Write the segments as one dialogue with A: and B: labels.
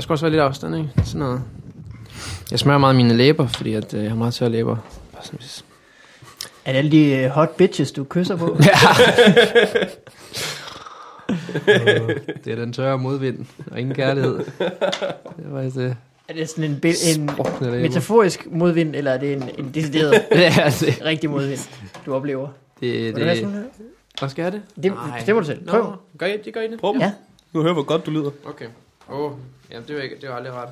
A: skal også være lidt afstand, ikke? Sådan noget. Jeg smører meget mine læber, fordi at, øh, jeg har meget tørre læber. Bare sådan, hvis-
B: Er det alle de øh, hot bitches, du kysser på?
A: Øh, Det er den tørre modvind, og ingen kærlighed. Det var faktisk det.
B: er det sådan en, bi- en
A: Sprukne læber.
B: metaforisk modvind, eller er det en, en decideret
A: Ja, det,
B: rigtig modvind, du oplever?
A: det,
B: Vil du have
A: det,
B: sådan her?
A: Hvad skal jeg have det?
B: Det
A: Nej.
B: bestemmer du selv. Prøv.
A: Nå, gør I det? Gør I det?
C: Prøv.
B: Ja.
C: Ja. Nu hører hvor godt du lyder.
A: Okay. Åh, oh, jamen det var, ikke, det var aldrig rart.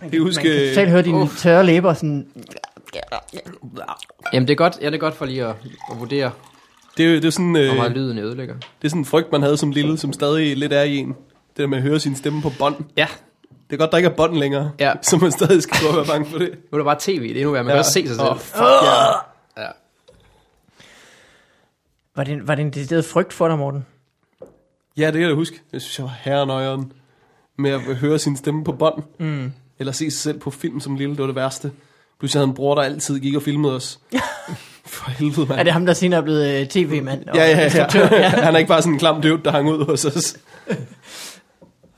B: Man
C: kan
B: kan,
C: huske,
B: man kan
C: øh,
B: totalt høre dine
A: uh.
B: tørre læber sådan...
A: Jamen det er godt, ja, det er godt for lige at, at vurdere,
C: Det er, jo- det, er sådan,
A: hvor meget
C: øh,
A: lyden ødelægger.
C: det er sådan en frygt, man havde som lille, som stadig lidt er i en. Det der med at høre sin stemme på bånd.
A: Ja,
C: Det er godt, der ikke er bånd længere.
A: Ja.
C: Så man stadig skal gå og være bange for det.
A: nu er der bare tv, det er endnu værre, man kan også se sig selv.
C: Åh, fuck,
B: Ah!
C: ja.
A: Ja.
B: Var det, en- var det en decideret frygt for dig, Morten?
C: ja, det kan jeg da huske. Jeg synes, jeg var herrenøjeren med at høre sin stemme på bånd.
B: Mm.
C: Eller se sig selv på film som lille, det var det værste. Pludselig havde en bror, der altid gik og filmede os. For helvede, mand.
B: Er det ham, der senere er blevet øh, tv-mand? og
C: Ja, ja,
B: instruktør?
C: ja. han er ikke bare sådan en klam død, der hang ud hos os.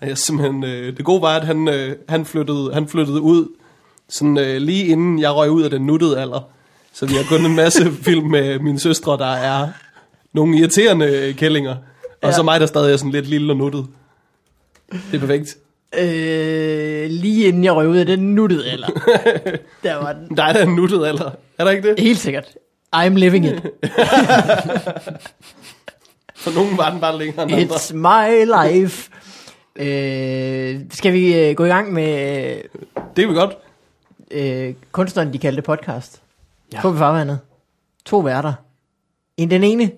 C: Og Jeg simpelthen, øh, det gode var, at han, øh, han, flyttede, han flyttede ud, sådan øh, lige inden jeg røg ud af den nuttede alder. Så vi har kun en masse film med mine søstre, der er nogle irriterende øh, kællinger. Og
B: Ja.
C: ja. så mig, der stadig er sådan lidt lille og nuttet. Det er perfekt.
B: Øh, lige inden jeg røg ud af den nuttede alder. der var den.
C: Der er da en nuttet alder. Er der ikke det?
B: Helt sikkert. I'm living it.
C: For nogen var den bare længere end andre.
B: It's my life. Øh, skal vi øh, gå i gang med
C: Det er vi godt.
B: øh, kunstneren, de kaldte podcast? Ja.
A: Ja.
B: På farvandet. To værter. En den ene,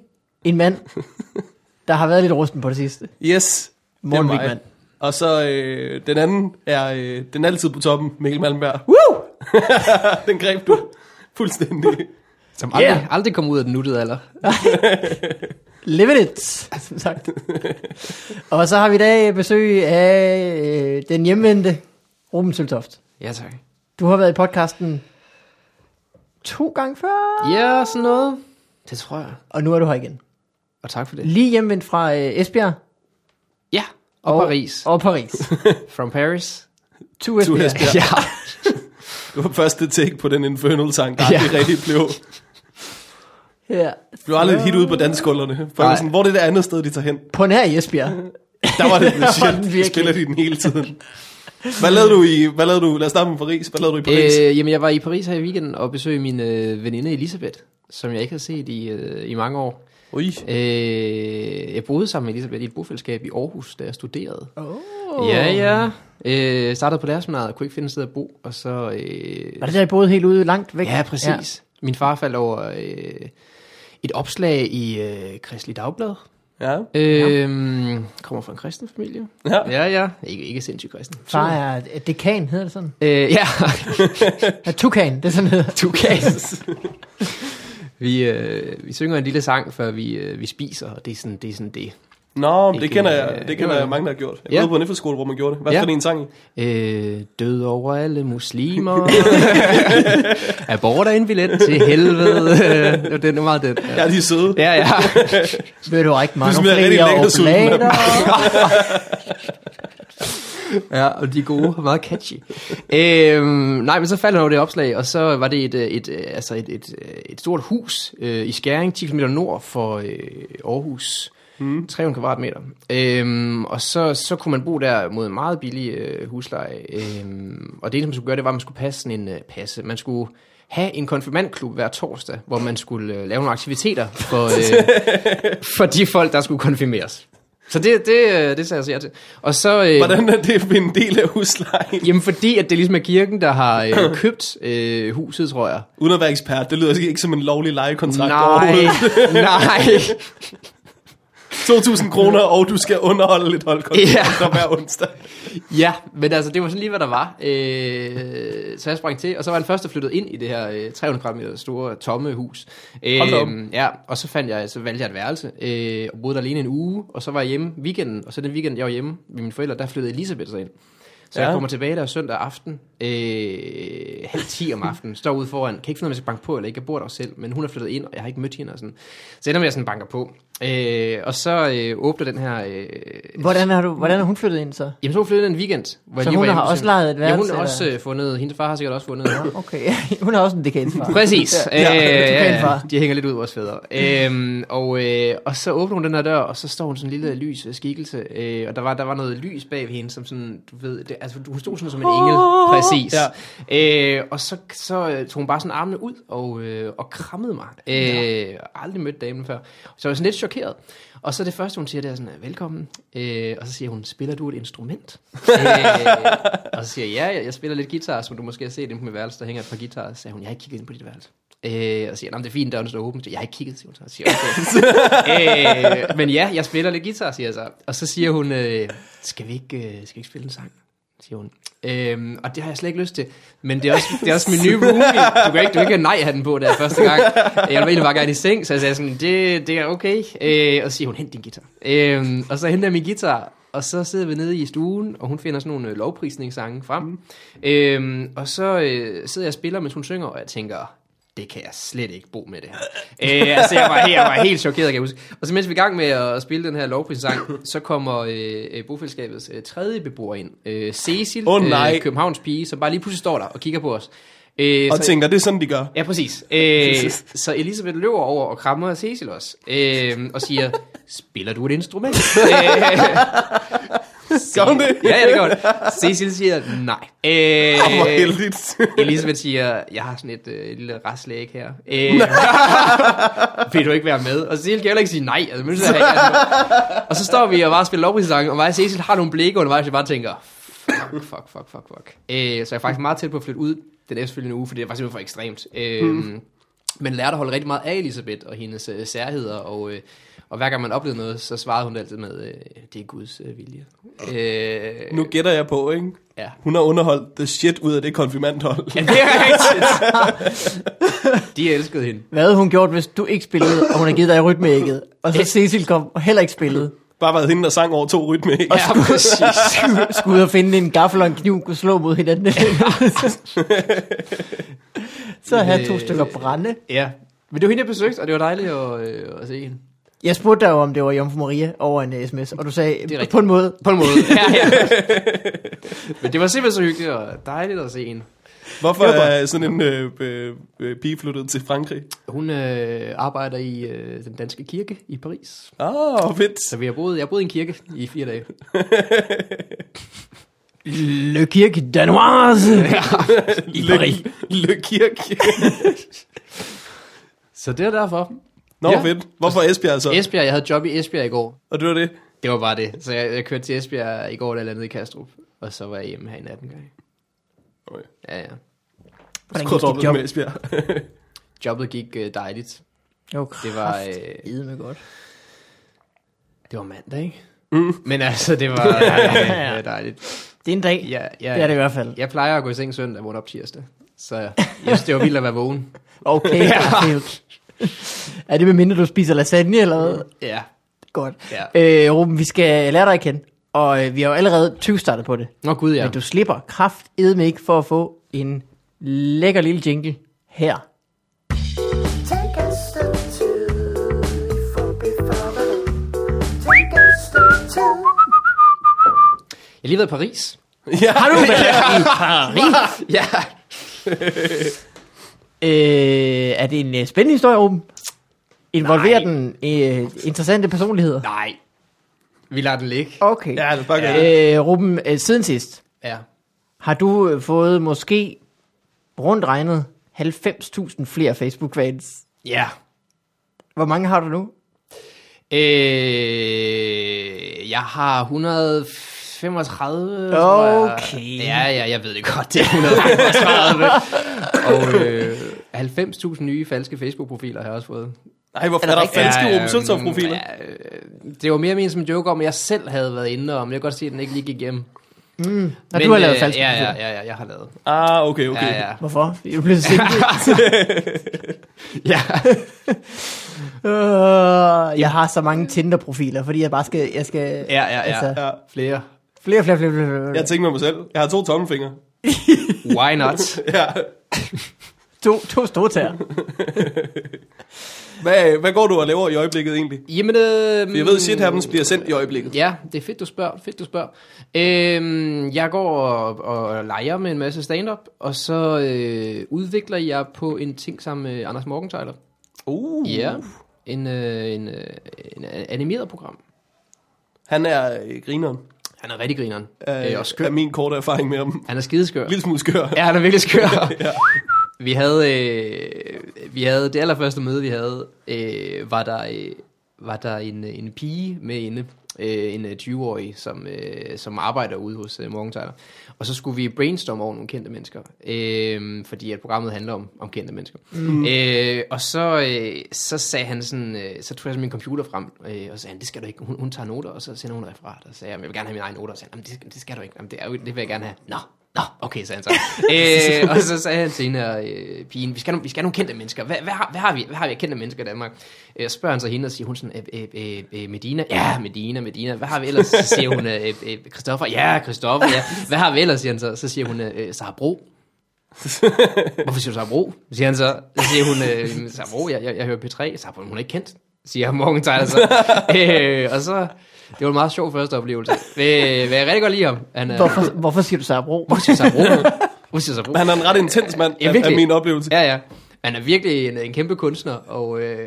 B: en mand, der har været lidt rusten på det sidste.
C: Yes. det er
B: Morten
C: mig.
B: Wigman.
C: Og så øh, den anden er øh, den er altid på toppen, Mikkel Malmberg.
B: Woo!
C: den greb du fuldstændig.
A: Som aldrig,
B: Yeah.
A: yeah. aldrig kom ud af den nuttede alder.
B: Live it, som sagt. Og så har vi i dag besøg af øh, den hjemvendte Ruben Søltoft.
A: Ja, tak.
B: Du har været i podcasten to gange før,
A: Ja, sådan noget. Det tror jeg.
B: og nu er du her igen.
A: Og tak for det.
B: Lige hjemvendt fra øh, Esbjerg.
A: Ja, og, og Paris. Og.
B: Og Paris.
A: From Paris.
B: To Esbjerg.
C: To Esbjerg.
A: Ja.
C: Det var første take på den Infernal sang, der ja. aldrig rigtig blev.
B: Ja.
C: blev aldrig et hit ude på danskullerne. For jeg var
A: Nej.
C: sådan, hvor er det der andet sted, de tager hen?
B: På nær i Esbjerg.
C: Der var det
B: Der var den
C: legit.
B: virkelig.
C: De spiller de den hele tiden. Hvad lavede du i, hvad lavede du, lad os starte med Paris. Hvad lavede du i Paris? Øh,
A: Øh, jamen, jeg var i Paris her i weekenden og besøgte min øh, veninde Elisabeth, som jeg ikke har set i, øh, i mange år.
C: Ui.
A: Øh, jeg boede sammen med Elisabeth i et bofællesskab i Aarhus, da jeg studerede.
B: Oh.
A: Oh. Ja, ja. Øh, startede på deres og kunne ikke finde et sted at bo, og så... Øh,
B: Var det der, I boede helt ude langt væk?
A: ja, præcis. Ja. Min far faldt over øh, et opslag i øh, Kristelig Dagblad.
C: Ja.
A: Øh, Kommer fra en kristen familie.
C: ja.
A: Ja, ja. Ikke, ikke sindssygt kristen.
B: Ja. Far er er dekan, hedder det sådan?
A: Øh, ja,
B: Ja, tukan, det er sådan, det hedder.
A: du kan. vi, øh, vi synger en lille sang, før vi, øh, vi spiser, og det er sådan det. Er sådan det.
C: Nå, men det
A: Ikke,
C: kender
A: øh,
C: jeg, det kender
A: det var-
C: jeg mange, der har gjort. Jeg
A: Ja.
C: ja. boede på en efterskole, hvor man gjorde det. Hvad
A: Ja.
C: for en sang i?
A: Øh, død over alle muslimer. Abort er en billet til helvede. Øh, det var den, det var meget den.
C: Ja, de er søde.
A: Ja, ja.
B: Ved du ikke, man
C: Du smider rigtig lækker sulten af dem.
A: ja, og de er gode og meget catchy. Øhm, nej, men så faldt han over det opslag, og så var det et, øh, et, øh, altså et, et, øh, et stort hus øh, i Skæring, 10 km nord for øh, Aarhus. Mm. 300 kvadratmeter. Øhm, og så, så kunne man bo der mod en meget billig øh, husleje. Øhm, og det eneste, man skulle gøre, det var, at man skulle passe sådan en øh, passe. Man skulle have en konfirmandklub hver torsdag, hvor man skulle øh, lave nogle aktiviteter for, øh, for de folk, der skulle konfirmeres. Så det, det, øh, det sagde jeg så ja til. Og så, øh,
C: Hvordan er det en del af huslejen?
A: Jamen fordi, at det ligesom er kirken, der har øh, købt øh, huset, tror jeg.
C: Uden at være ekspert, det lyder altså ikke som en lovlig lejekontrakt
A: Nej,
C: overhovedet.
A: nej.
C: 2.000 kroner, og du skal underholde lidt holdkoncert
A: Ja.
C: yeah. hver onsdag.
A: Ja, men altså, det var sådan lige, hvad der var. Øh, så jeg sprang til, og så var den første flyttet ind i det her øh, 300 kvadratmeter store, tomme hus. Øh,
C: Hold da op.
A: ja, og så, fandt jeg, så valgte jeg et værelse, øh, og boede der alene en uge, og så var jeg hjemme weekenden, og så den weekend, jeg var hjemme ved mine forældre, der flyttede Elisabeth så ind. Så ja.
C: Ja.
A: jeg kommer tilbage der søndag aften, øh, halv 10 om aftenen, står ude foran, kan ikke finde ud af, om jeg skal banke på eller ikke, jeg bor der jo selv, men hun er flyttet ind, og jeg har ikke mødt hende og sådan. Så ender med, at jeg sådan banker på. Øh, og så øh, åbner den her... Øh,
B: Hvordan har, du, hvordan er hun flyttet ind så?
A: Jamen, så er hun flyttet ind en weekend. Hvor jeg
B: Så
A: lige
B: hun
A: var
B: har
A: hjemme hos
B: også
A: hende.
B: lejet et
A: Ja, hun
B: værelse,
A: har også
B: eller?
A: øh, fundet, hendes far har sikkert også fundet.
B: Okay, hun er også en dekans far.
A: Præcis.
B: Ja,
A: Øh,
B: ja, total far.
A: de hænger lidt ud, vores fædre. Øhm, og, øh, og så åbner hun den her dør, og så står hun sådan en lille lys øh, skikkelse. Øh, og der var, der var noget lys bag ved hende, som sådan, du ved, det, altså, hun stod sådan som en engel. Præcis. Ja. Øh, og så, så øh, tog hun bare sådan armene ud og, øh, og krammede mig. Øh, Aldrig mødt damen før. Så jeg var sådan lidt chokeret. Og så det første, hun siger, det er sådan, velkommen. Øh, og så siger hun, spiller du et instrument? øh, og så siger jeg, ja, jeg, jeg spiller lidt guitar, som du måske har set inde på mit værelse, der hænger et par guitarer. Så sagde hun, jeg har ikke kigget ind på dit værelse. Øh, og siger, nej, det er fint, døren står åben. Så Jeg har ikke kigget, siger hun så. Og Siger, okay. øh, men ja, jeg spiller lidt guitar, siger jeg så. Og så siger hun, øh, skal, vi ikke, øh, skal vi ikke spille en sang? siger hun. Øhm, og det har jeg slet ikke lyst til. Men det er også, det er også min nye roomie. Du kan ikke, du kan ikke have nej-hatten på der første gang. Jeg ville egentlig bare gerne i seng, så jeg sagde sådan, det, det er okay. Øh, og så siger hun, hent din guitar. Øhm, og så henter jeg min guitar, og så sidder vi nede i stuen, og hun finder sådan nogle øh, lovprisningssange frem. Mm. Øhm, og så øh, sidder jeg og spiller, mens hun synger, og jeg tænker, det kan jeg slet ikke bo med det her. Øh, altså, jeg var, helt, jeg var helt chokeret, kan jeg huske. Og så mens vi er i gang med at spille den her lovprissang, så kommer øh, øh, bofællesskabets øh, tredje beboer ind. Øh, Cecil,
C: Åh, nej.
A: øh, Københavns pige, som bare lige pludselig står der og kigger på os. Øh,
C: Og tænker, det er sådan, de gør.
A: Ja, præcis. Øh, så Elisabeth løber over og krammer Cecil også, øh, og siger, spiller du et instrument? øh,
C: Gør hun det?
A: ja, ja, det gør det. Cecil siger, nej.
C: Åh, hvor
A: Øh,
C: heldigt.
A: Elisabeth siger, jeg har sådan et øh, lille restlæg her. Øh, vil du ikke være med? Og Cecil kan heller ikke sige nej. Altså, men, så er jeg ikke altså. og så står vi og bare spiller lovprissange, og mig og Cecil har nogle blikke undervejs, jeg bare tænker, fuck, fuck, fuck, fuck, fuck. Øh, så jeg er faktisk meget tæt på at flytte ud den efterfølgende uge, for det var simpelthen for ekstremt. Øh, Men lærte at holde rigtig meget af Elisabeth og hendes øh, særheder, og, øh, og hver gang man oplevede noget, så svarede hun altid med, øh, det er Guds øh, vilje. Øh,
C: Nu gætter jeg på, ikke?
A: Ja.
C: Hun har underholdt the shit ud af det konfirmandhold.
A: Ja, det er rigtigt. De elskede hende.
B: Hvad havde hun gjort, hvis du ikke spillede, og hun havde givet dig rytmeægget, og så Cecil kom og heller ikke spillede,
C: Bare været hende, der sang over to rytme. ikke?
A: Ja, præcis.
B: skulle ud og finde en gaffel og en kniv, kunne slå mod hinanden. så havde to stykker brænde.
A: Ja. Men det var hende, jeg besøgte, og det var dejligt at, øh, at se hende.
B: Jeg spurgte dig jo, om det var Jomfru Maria over en øh, sms, og du
A: Det er
B: sagde,
A: rigtigt.
B: på en måde,
A: På en måde. Ja, ja. Men det var simpelthen så hyggeligt og dejligt at se hende.
C: Hvorfor er sådan en øh, øh, øh, pige flyttet til Frankrig?
A: Hun øh, arbejder i øh, den danske kirke i Paris.
C: Åh, oh, fedt.
A: Så vi har boet, jeg har boet i en kirke i fire dage.
B: Le Kirke Danoise.
A: I Paris.
C: Le Kirk.
A: Så det er derfor.
C: Nå,
A: Ja.
C: ja. fedt. Hvorfor Esbjerg så?
A: Esbjerg, jeg havde job i Esbjerg i går.
C: Og det var det.
A: Det var bare det. Så jeg, jeg kørte til Esbjerg i går, der landede i Kastrup. Og så var jeg hjemme her i natten gang.
C: Okay.
A: Ja, ja.
B: Hvordan
C: Skruet op
B: gik dit job?
C: med Esbjerg.
A: Jobbet gik øh, dejligt.
B: Jo,
A: Det var, øh,
B: med godt.
A: Det var mandag, ikke? Mm. Men altså, det var øh, øh, dejligt.
B: Det er en dag.
A: Jeg, jeg,
B: Det er det i hvert fald.
A: Jeg plejer at gå i seng søndag, vågne op tirsdag. Så jeg synes, det var vildt at være vågen.
B: Okay,
A: Ja.
B: okay. Er det med mindre, du spiser lasagne eller hvad?
A: Ja.
B: Godt.
A: Ja.
B: Øh, Ruben, vi skal lære dig at kende, og øh, vi har jo allerede 20 startet på det.
A: Nå gud, ja.
B: Men du slipper kraft edme ikke for at få en lækker lille jingle her.
D: Take a step two before before the Take a step two.
A: Jeg har lige været i Paris.
C: ja. Har du
A: ja.
B: Øh, er det en øh, spændende historie, Ruben? Involverer
A: Nej.
B: den øh, interessante personligheder?
A: Nej. Vi lader den ligge.
B: Okay.
C: Ja, det er bare ja.
B: Øh, Ruben, øh, siden sidst
A: Ja.
B: har du øh, fået måske rundt regnet 90.000 flere Facebook-fans.
A: Ja.
B: Hvor mange har du nu?
A: Øh, jeg har 135, tror jeg.
B: Okay.
A: Ja, ja, jeg ved det godt, det er 135. og øh, 90.000 nye falske Facebook-profiler har jeg også fået.
C: Ej, hvorfor er, der falske ja, Ruben Søltoft profiler? Ja.
A: Ja, øh, det var mere min som en joke om, at jeg selv havde været inde om. Jeg kan godt se, at den ikke lige gik igennem.
B: Når du har lavet
A: øh,
B: falske
A: ja, ja,
B: profiler.
A: ja, ja, jeg har lavet.
C: Ah, okay, okay.
A: Ja, ja.
B: Hvorfor? Du blev single.
A: ja.
B: Øh, jeg har så mange Tinder-profiler, fordi jeg bare skal... Jeg skal
A: Ja, ja, ja.
B: Altså,
C: ja.
A: Flere.
B: flere, flere, flere, flere, flere.
C: Jeg tænker med mig selv. Jeg har to tommelfingre.
A: Why not?
C: Ja.
B: To, to store tæer.
C: Hvad, hvad går du og laver i øjeblikket egentlig?
A: Jamen, øh,
C: Jeg ved, shit happens bliver sendt i øjeblikket.
A: Ja, det er fedt, du spørger. Fedt, du spørger. Øhm, jeg går og, og leger med en masse stand-up, og så øh, udvikler jeg på en ting sammen med Anders Morgenthaler.
C: Uh.
A: Ja, en, øh, en, øh, en animeret program.
C: Han er øh, grineren.
A: Han er rigtig grineren.
C: Øh,
A: Øh, og skør.
C: Er min korte erfaring med ham.
A: Han er skideskør.
C: Lille smule skør.
A: Ja, han er virkelig skør. Vi havde, øh, vi havde, det allerførste møde, vi havde, øh, var der, øh, var der en, øh, en pige med inde, øh, en øh, 20-årig, som, øh, som arbejder ude hos øh, Morgenthaler. Og så skulle vi brainstorme over nogle kendte mennesker, øh, fordi at programmet handler om, om kendte mennesker. Mm. Øh, og så, øh, så sagde han sådan, øh, så tog jeg så min computer frem, øh, og så sagde han, det skal du ikke, hun, hun tager noter, og så sender hun et referat, og så sagde jeg, jeg vil gerne have mine egne noter, og så sagde han, "Jamen, det, skal- det skal du ikke, Jamen, det, er, jo- det vil jeg gerne have. Nå, Nå, okay, sagde han så. øh, og så sagde han til hende her, øh, pigen, vi skal, have nogle- vi skal have nogle kendte mennesker. Hvad, hvad, har, hvad, har, vi, hvad har vi af kendte mennesker i Danmark? Øh, og spørger han så hende, og siger hun sådan, øh, øh, øh, øh, Medina? Ja, Medina, Medina. Hvad har vi ellers? Så siger hun, øh, øh, Christoffer? Ja, Christoffer, ja. Hvad har vi ellers, siger han så. Så siger hun, øh, Sarah Bro. Hvorfor siger du Sarah Bro? Siger han så. Så siger hun, øh, Sarah Bro, jeg, jeg, jeg hører P3. Sarah Bro, hun er ikke kendt, siger Morgan Tyler så. øh, og så, det var en meget sjov første oplevelse. Øh, hvad jeg rigtig godt lide ham. Han, er-
B: Hvorfor, hvorfor siger du Sabro?
A: Hvorfor siger Sabro? Hvorfor siger Sabro?
C: Han er en ret intens mand,
A: Ja,
C: ja,
A: virkelig.
C: af min oplevelse.
A: Ja, ja. Han er virkelig en, en kæmpe kunstner, og øh,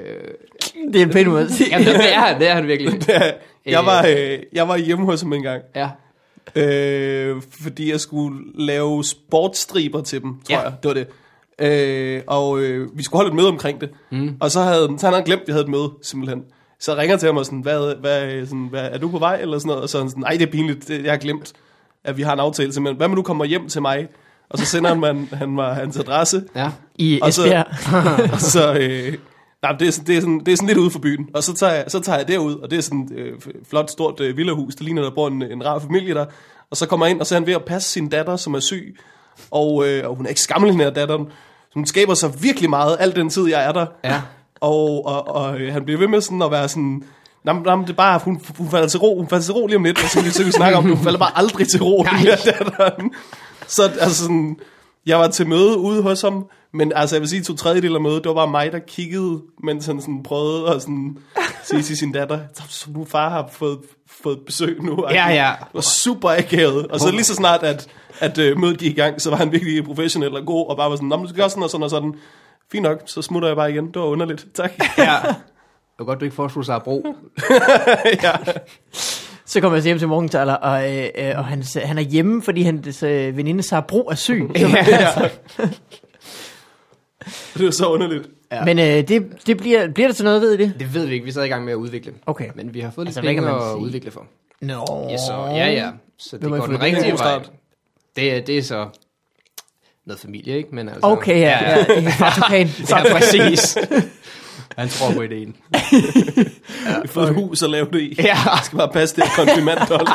B: Det er en pæn måde at sige.
A: jamen, det er han, det er han virkelig.
C: Jeg var, øh, jeg var hjemme hos ham en gang,
A: Ja,
C: øh, fordi jeg skulle lave sportsstriber til dem, tror
A: Ja.
C: ja. jeg. Det var det. Øh, og øh, vi skulle holde et møde omkring det. Mm. Og så havde så han havde glemt, at vi havde et møde, simpelthen. Så ringer han til mig og sådan, hvad, hvad, sådan, hvad, er du på vej? Eller sådan noget. Og så er han sådan, nej, det er pinligt, det, jeg har glemt, at vi har en aftale. Simpelthen. Hvad med du kommer hjem til mig? Og så sender han mig han var, hans adresse.
A: ja.
B: I
C: Og så-
B: Esbjerg.
C: og så, øh, nej, men det, er, sådan- det, er sådan, det er sådan lidt ude for byen. Og så tager jeg, så tager jeg derud, og det er sådan et øh, f- flot, stort øh, villahus. Det ligner, der bor en, en rar familie der. Og så kommer jeg ind, og så er han ved at passe sin datter, som er syg. Og, øh, og hun er ikke skammel, hende her datteren. Så hun skaber sig virkelig meget, al den tid, jeg er der.
A: Ja.
C: Og, og, og øh, han bliver ved med sådan at være sådan... Nej, nej, det er bare, hun, hun falder til ro, hun falder til ro lige om lidt, og så kan vi, så kan vi snakke om det, hun falder bare aldrig til ro, den her datteren. Så altså sådan, jeg var til møde ude hos ham, men altså jeg vil sige, to tredjedel af mødet, det var bare mig, der kiggede, mens han sådan prøvede at sådan sige til sin datter, så nu far har fået, fået besøg nu.
A: Ja, ja.
C: Det var super akavet. Og så lige så snart, at, at øh, mødet gik i gang, så var han virkelig professionel og god, og bare var sådan, "Nå, men du skal gøre sådan og sådan og sådan. Fint nok, så smutter jeg bare igen. Det var underligt. Tak.
A: ja. Det var godt, du ikke foreslog Sarah Bro.
C: ja.
B: Så kommer jeg hjem til Morgenthaler, og, øh, øh, og han, han er hjemme, fordi hans øh, veninde Sabro er syg.
C: ja. Det var så underligt.
B: Ja. Men øh, det, det bliver, bliver det til noget, ved I det?
A: Det ved vi ikke, vi sad i gang med at udvikle.
B: Okay.
A: Men vi har fået lidt
B: Altså,
A: altså,
B: hvad kan
A: penge
B: man
A: at
B: sige?
A: udvikle for.
B: Nå.
A: Ja, så, ja, ja. Så det
B: Hvem har
A: går
B: fået
A: den
B: det?
A: rigtige
C: God
A: vej.
C: start.
A: Det, er- det er så noget familie, ikke? Men altså,
B: Okay, ja. ja.
A: ja,
B: Det er fartukan.
A: ja præcis. Han tror på ideen.
C: Vi har fået et hus at lave det i.
A: Ja.
C: Jeg skal bare passe det her konfirmandhold.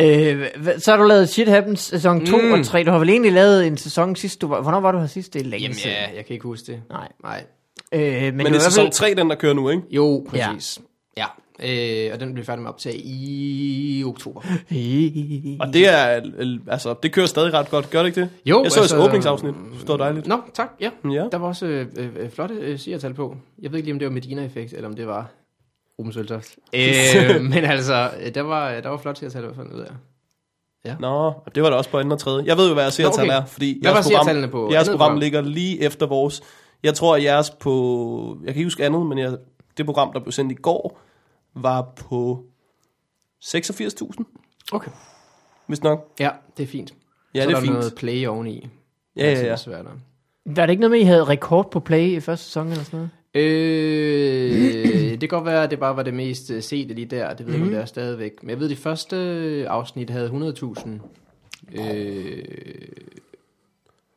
B: Øh, hva- så har du lavet Shit Happens sæson 2 mm. og 3. Du har vel egentlig lavet en sæson sidst. Du var, hvornår var du her sidst? Det er længe
A: Jamen
B: siden.
A: ja, jeg kan ikke huske det.
B: Nej.
A: Nej.
B: Øh, men,
C: Men
B: du
C: det
B: har i
C: er sæson
B: hvert fald-
C: 3, den der kører nu, ikke?
A: Jo, præcis. Ja. ja. Øh, og den blev færdig med at optage i oktober.
C: Og det er, øh, altså, det kører stadig ret godt, gør det ikke det?
A: Jo,
C: Jeg så altså,
A: altså,
C: et åbningsafsnit, det var dejligt.
A: Nå, tak. Ja.
C: Ja.
A: Der var også øh, øh, flotte øh, seertal på. Jeg ved ikke lige, om det var Medina-effekt, eller om det var Ruben Søltoft. Øh, men altså, øh, der var, der var flot seertal i hvert fald, ved jeg.
C: Nå, det var da også på anden og tredje. Jeg ved jo, hvad jeres seertal
A: okay.
C: er, fordi
A: Hvad var seertallene på
C: jeres
A: andet
C: program,
A: program?
C: ligger lige efter vores. Jeg tror, at jeres på... Jeg kan ikke huske andet, men jeg, det program, der blev sendt i går, var på 86.000,
A: Okay.
C: hvis nok.
A: Ja, det er fint.
C: Ja,
A: Så
C: det
A: er
C: er
A: der
C: fint.
A: noget play oveni. Altså,
C: Ja, ja, ja.
A: Svært.
B: Var det ikke noget med, at I havde rekord på play i første sæson eller sådan noget?
A: Øh, det kan godt være, at det bare var det mest øh, sete lige der. Det ved jeg mm. det er stadigvæk. Men jeg ved, at det første afsnit havde 100.000 øh,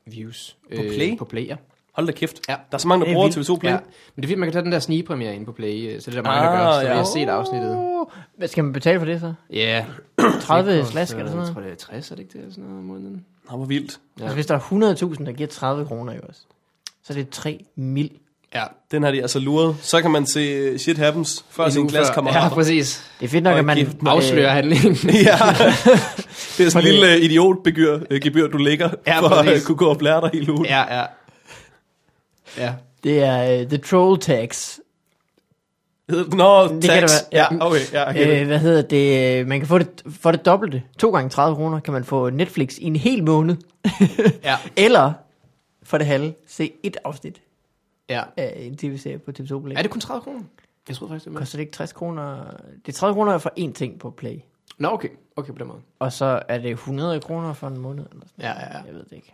A: views. På
C: Play?
A: Øh, på Play, ja.
C: Hold da kæft.
A: Ja.
C: Ja. Der er så mange,
B: Det
C: der
B: er
C: bruger
B: vildt.
C: TV2 Play.
A: Ja.
C: Ja.
A: Men det er fint, man kan tage den der snigepremiere ind på Play, øh, så det er der mange, der
C: Ah,
A: gør, så
C: ja.
A: vi har set afsnittet.
B: Åh, Oh. Hvad skal man betale for det så?
A: Ja.
B: 30 slask eller sådan
A: Jeg
B: noget?
A: tror, det er 60, er det ikke det? eller Sådan noget om måneden.
C: Nå, hvor vildt.
A: Ja.
B: Altså hvis der er 100.000, der giver 30 kroner jo også, så er det 3 mil.
A: Ja.
C: Den har de altså luret. Så kan man se øh, Shit Happens før sin
A: Ja,
C: klassekammerater.
A: præcis.
B: Det er fedt nok,
C: Og
B: at man... Øh,
C: gift
A: Afslører handlingen.
C: Ja, det er sådan en
B: Fordi-
C: lille idiotbegyr, øh, gebyr, du lægger,
A: Ja,
C: for at øh,
A: præcis.
C: kunne gå og blære dig hele ugen. Ja.
A: ja, ja. Ja.
B: Det er uh, The Troll Tax.
C: Nå,
B: kan
C: tax.
B: det være, ja.
C: ja. okay, ja, okay.
B: Øh, hvad hedder det? Øh, Man kan få det, for det dobbelte. 2 gange 30 kroner kan man få Netflix i en hel måned.
A: Ja.
B: Eller for det halve, se et afsnit
A: ja.
B: af en tv-serie på TV2 Play.
A: Er det kun 30 kroner? Jeg troede faktisk, det var mere.
B: Koster det ikke 60 kroner? Det er 30 kroner for én ting på Play.
A: Nå, okay. Okay, på den måde.
B: Og så er det 100 kroner for en måned eller sådan
A: Ja, ja, ja.
B: noget. Jeg ved det ikke.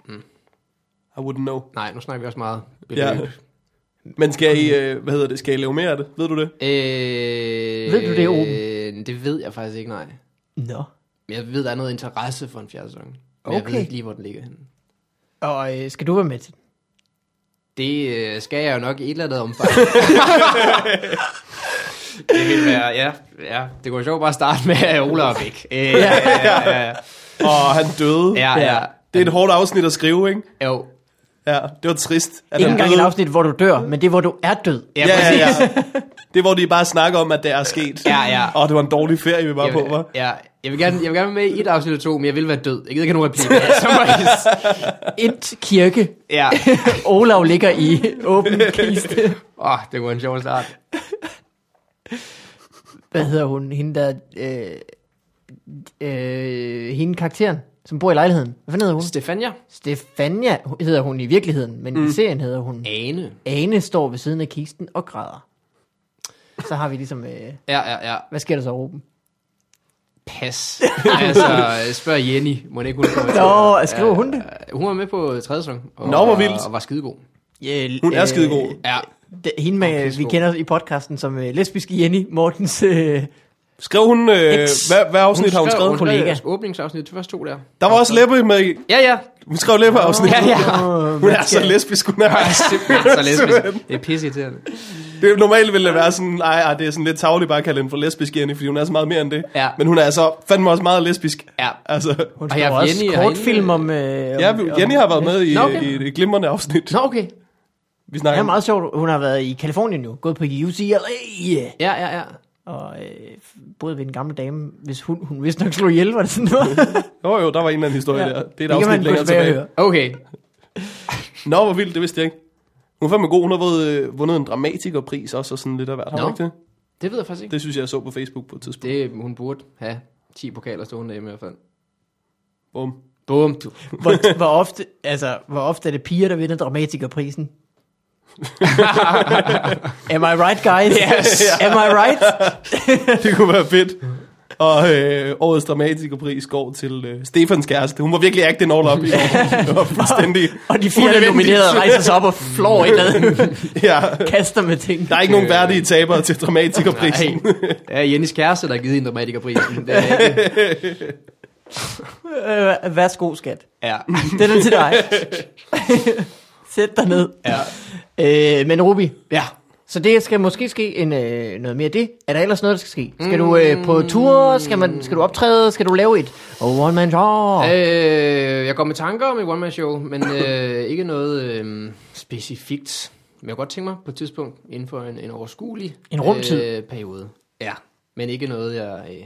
C: I wouldn't know.
A: Nej, nu snakker vi også meget.
C: Ja.
A: beløb.
C: Men skal I, øh, hvad hedder det, skal I lave mere af det? Ved du det?
A: Øh,
B: Ved du det,
A: Ruben? Det ved jeg faktisk ikke, nej.
B: Nå.
A: Men jeg ved, der er noget interesse for en fjerde sæson. Men jeg ved
B: Okay.
A: ikke lige, hvor den ligger henne.
B: Og øh, skal du være med til den?
A: Det øh, skal jeg jo nok i et eller andet omfang. det vil være, ja, ja. Det kunne være sjovt bare at starte med at Ola og væk. Øh, ja, ja, ja.
C: Og han døde.
A: Ja, ja.
C: Det er et hårdt afsnit at skrive, ikke?
A: Jo.
C: Ja, det var trist. At
B: Ikke
C: han
B: engang
C: døde.
B: et afsnit, hvor du dør, men det er, hvor du er død.
A: Ja,
C: Ja, ja,
A: præcis.
C: ja. Det er, hvor de bare snakker om, at det er sket.
A: Ja, ja.
C: Og det var en dårlig ferie, vi var
A: Jeg vil,
C: på, var.
A: ja, jeg vil gerne, jeg vil gerne være med i et afsnit eller to, men jeg vil være død. Jeg gider ikke have nogen replikker. Så må I-
B: Int kirke.
A: ja.
B: Olav ligger i åben kiste.
A: Åh, oh, det var en sjov start.
B: Hvad hedder hun? Hende der... Øh, øh, hende karakteren, som bor i lejligheden. Hvad fanden hedder hun?
A: Stefania.
B: Stefania hedder hun i virkeligheden, men mm. i serien hedder hun...
A: Ane.
B: Ane står ved siden af kisten og græder. Så har vi ligesom... Øh,
A: Ja, ja, ja.
B: hvad sker der så, Ruben?
A: Pas. altså, spørg Jenny. Må ikke hun komme
B: Nå, øh, skriver hun det?
A: Øh, Hun var med på tredje sæson. Og,
C: Nå, hvor vildt.
A: Og var skidegod.
B: Yeah,
C: Hun
A: Øh,
C: er skidegod.
A: Ja.
B: Øh, Det, hende med,
A: Okay,
B: vi
A: skål.
B: kender i podcasten som uh, lesbisk Jenny Mortens. Uh,
C: Skrev hun, øh,
B: Ex.
C: hvad, hvad afsnit hun har hun
A: skrev-
C: skrevet?
A: hun skrev
B: Kollega.
A: deres åbningsafsnit, de første to der.
C: Der var også Leppe med i.
A: Ja, ja.
C: Hun skrev Leppe-afsnit.
A: Ja, ja.
C: Hun er så lesbisk, hun er.
A: Jeg er simpelthen så lesbisk. Det er pisse irriterende.
C: Det er normalt ville det være sådan, nej, ej, det er sådan lidt tavligt bare at kalde hende for lesbisk Jenny, fordi hun er så meget mere end det.
A: Ja.
C: Men hun er altså fandme også meget lesbisk.
A: Ja.
C: Altså,
B: hun
A: Og jeg
B: har
A: har
B: også
A: Jenny
B: Jenny
A: herinde.
B: kortfilm om... Uh,
C: ja, vi- Jenny har været med i,
A: Nå, okay.
C: i et glimrende afsnit.
A: Nå, okay.
C: Vi
B: Det
C: snakker
B: er
C: om
B: meget sjovt. Hun har været i Kalifornien nu. Gået på UCLA. Yeah.
A: Ja, ja, ja.
B: Og øh, både ved en gammel dame, hvis hun, hun vidste nok slog ihjel, var det sådan noget.
C: Jo, jo, der var en eller anden historie ja. der. Det er
B: kan man
C: et afsnit
B: gå
C: længere
B: tilbage og
C: tilbage.
B: høre.
A: Okay.
C: Nå, hvor vildt, det vidste jeg ikke. Hun er fandme god. Hun har vundet, øh, vundet en dramatikerpris også, og sådan lidt af hvert. Har hun
A: Nå.
C: ikke det?
A: Det ved jeg faktisk ikke.
C: Det synes jeg, jeg så på Facebook på et tidspunkt. Det.
A: Det, hun burde have 10 pokaler stående hjemme i hvert fald.
C: Bum.
A: Bum. Du.
B: hvor, hvor, ofte, altså, hvor ofte er det piger, der vinder dramatikerprisen? Am I right, guys? Yes. Am I right?
C: Det kunne være fedt. Og øh, årets dramatikerpris går til øh, Stefans kæreste. Hun var virkelig acting all up i år. Det var fuldstændig...
B: Og de fire, der
C: unødvendigt.
B: nominerede, rejser sig op og flår et eller andet.
C: Ja.
B: Kaster med ting.
C: Der er ikke nogen værdige tabere til dramatikerprisen.
A: Ja, Jennys kæreste, der har givet en dramatikerprisen. Det er ikke.
B: Øh, værsgo, skat.
A: Ja.
B: Den er til dig. Sæt dig ned.
A: Ja.
B: Øh, men Rubi,
A: Ja.
B: så det skal måske ske en, øh, noget mere af det. Er der ellers noget, der skal ske? Skal du øh,
A: Mm.
B: på tur? Skal, man, skal du optræde? Skal du lave et one-man show? Øh,
A: Øh, jeg går med tanker om et one-man-show, men øh, ikke noget øh, specifikt. Men jeg kunne godt tænke mig på et tidspunkt inden for en, en overskuelig
B: En rumtid.
A: Øh, periode. Ja, men ikke noget, jeg øh,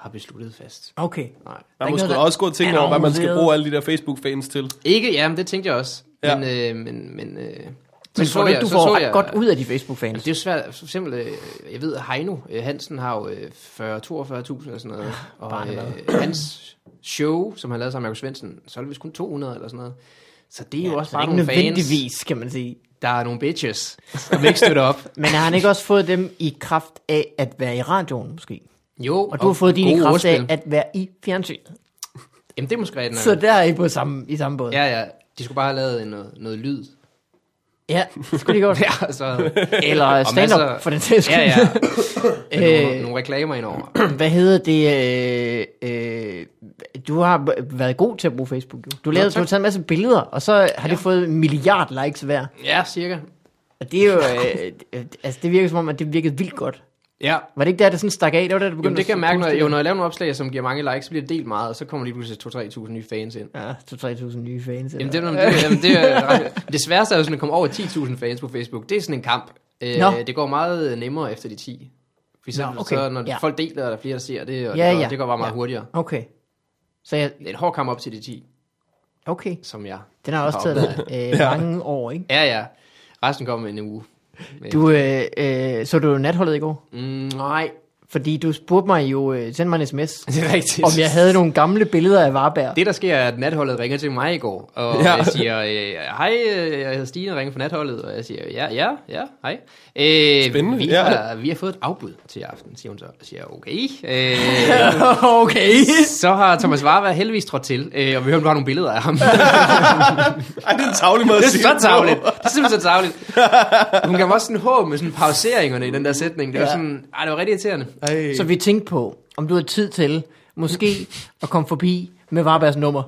A: har besluttet fast.
B: okay.
A: Nej.
C: Man må
B: ikke
C: sgu
B: noget,
C: da
B: der
C: også gå og tænke
B: er
C: over, hvad man skal
B: organiseret.
C: bruge alle de der Facebook-fans til.
A: Ikke, ja, men det tænkte jeg også.
C: Ja.
A: Men, øh, men, men, øh,
B: Men tror du ikke, du får ret godt ud af de Facebook-fans?
A: Altså, Det er jo svært, for eksempel, øh, jeg ved, Heino øh, Hansen har jo øh, 40-42.000 eller sådan noget, og øh, hans show, som han lavede sammen med Jakob Svendsen, så er det vist kun 200 eller sådan noget. Så det er ja, jo også
B: Så det er
A: bare
B: ikke
A: nogle fans,
B: nødvendigvis, kan man sige.
A: der er nogle bitches, som ikke støtter op.
B: Men har han ikke også fået dem i kraft af at være i radioen, måske?
A: Jo,
B: Og du har fået dine i
A: gode
B: kraft
A: ordspil.
B: af at være i fjernsynet.
A: Jamen, det er måske rigtigt.
B: Så
A: nok.
B: der er I på samme, i samme båd.
A: Ja, ja, de skulle bare have lavet en- noget, noget lyd.
B: Ja, det skulle de godt.
A: Ja, og så,
B: Eller
A: Og masser-
B: stand-up, for den sags skyld.
A: ja, ja.
B: Øh.
A: Nogle, nogle reklamer indover.
B: Hvad hedder det? Øh, øh, du har b- været god til at bruge Facebook. Jo. Du, lavede, du
A: tak.
B: har taget en masse billeder, og så har ja. det fået en milliard likes hver.
A: Ja, cirka.
B: Og det er jo... Øh, øh, altså, det virker som om, at det virkede vildt godt.
A: Ja,
B: Var det ikke der, det sådan stak af? Det var der, det begyndte
A: Jamen, det kan jeg mærke, når jeg, jo,
B: jo,
A: når jeg laver nogle opslag, som giver mange likes, så bliver det delt meget, og så kommer lige pludselig 2-3.000 nye fans ind.
B: Ja, 2-3.000 nye fans.
A: Jamen,
B: eller-
A: det, er, det, jamen, det, er, ret- det sværeste er jo sådan at komme over 10.000 fans på Facebook. Det er sådan en kamp. Øh,
B: Nå.
A: Det går meget nemmere efter de 10. For eksempel, Nå,
B: okay.
A: okay. så, når
B: Ja.
A: ja. folk deler, og der er flere, der ser det, og
B: Ja,
A: ja, det, går,
B: ja.
A: ja. det går bare meget
B: Ja.
A: ja. hurtigere.
B: Okay. Så jeg,
A: Det er en hård kamp op til de 10,
B: okay.
A: som jeg
B: Den har også taget
A: oplevet.
B: dig øh, mange år, ikke?
A: Ja, ja. Resten kommer en uge.
B: Du, øh, øh, så du natholdet i går?
A: Mm, nej,
B: Fordi du spurgte mig jo, øh, send mig en sms,
A: det er rigtigt.
B: om jeg havde nogle gamle billeder af Varberg.
A: Det, der sker, er, at natholdet ringer til mig i går, og
C: Ja.
A: ja. jeg siger, øh, hej, øh, jeg hedder Stine, ringer fra natholdet, og jeg siger, ja, ja, ja, hej. Øh,
C: Spændende,
A: vi,
C: ja.
A: har, vi har fået et afbud til i aften, siger hun så. Jeg siger, okay. Øh,
B: okay.
A: så har Thomas Warberg heldigvis trådt til, øh, og vi hører, om du har nogle billeder af ham.
C: Ej, det er en tavlig måde at
A: Det
C: sige
A: er så tavligt. Det er simpelthen så tavligt. Hun gav mig også sådan håb med sådan pauseringerne i den der sætning. Det var
B: Ja.
A: sådan, ej, det var rigtig irriterende.
C: Ej.
B: Så vi tænkte på, om du havde tid til, måske, at komme forbi med Varbergs nummer.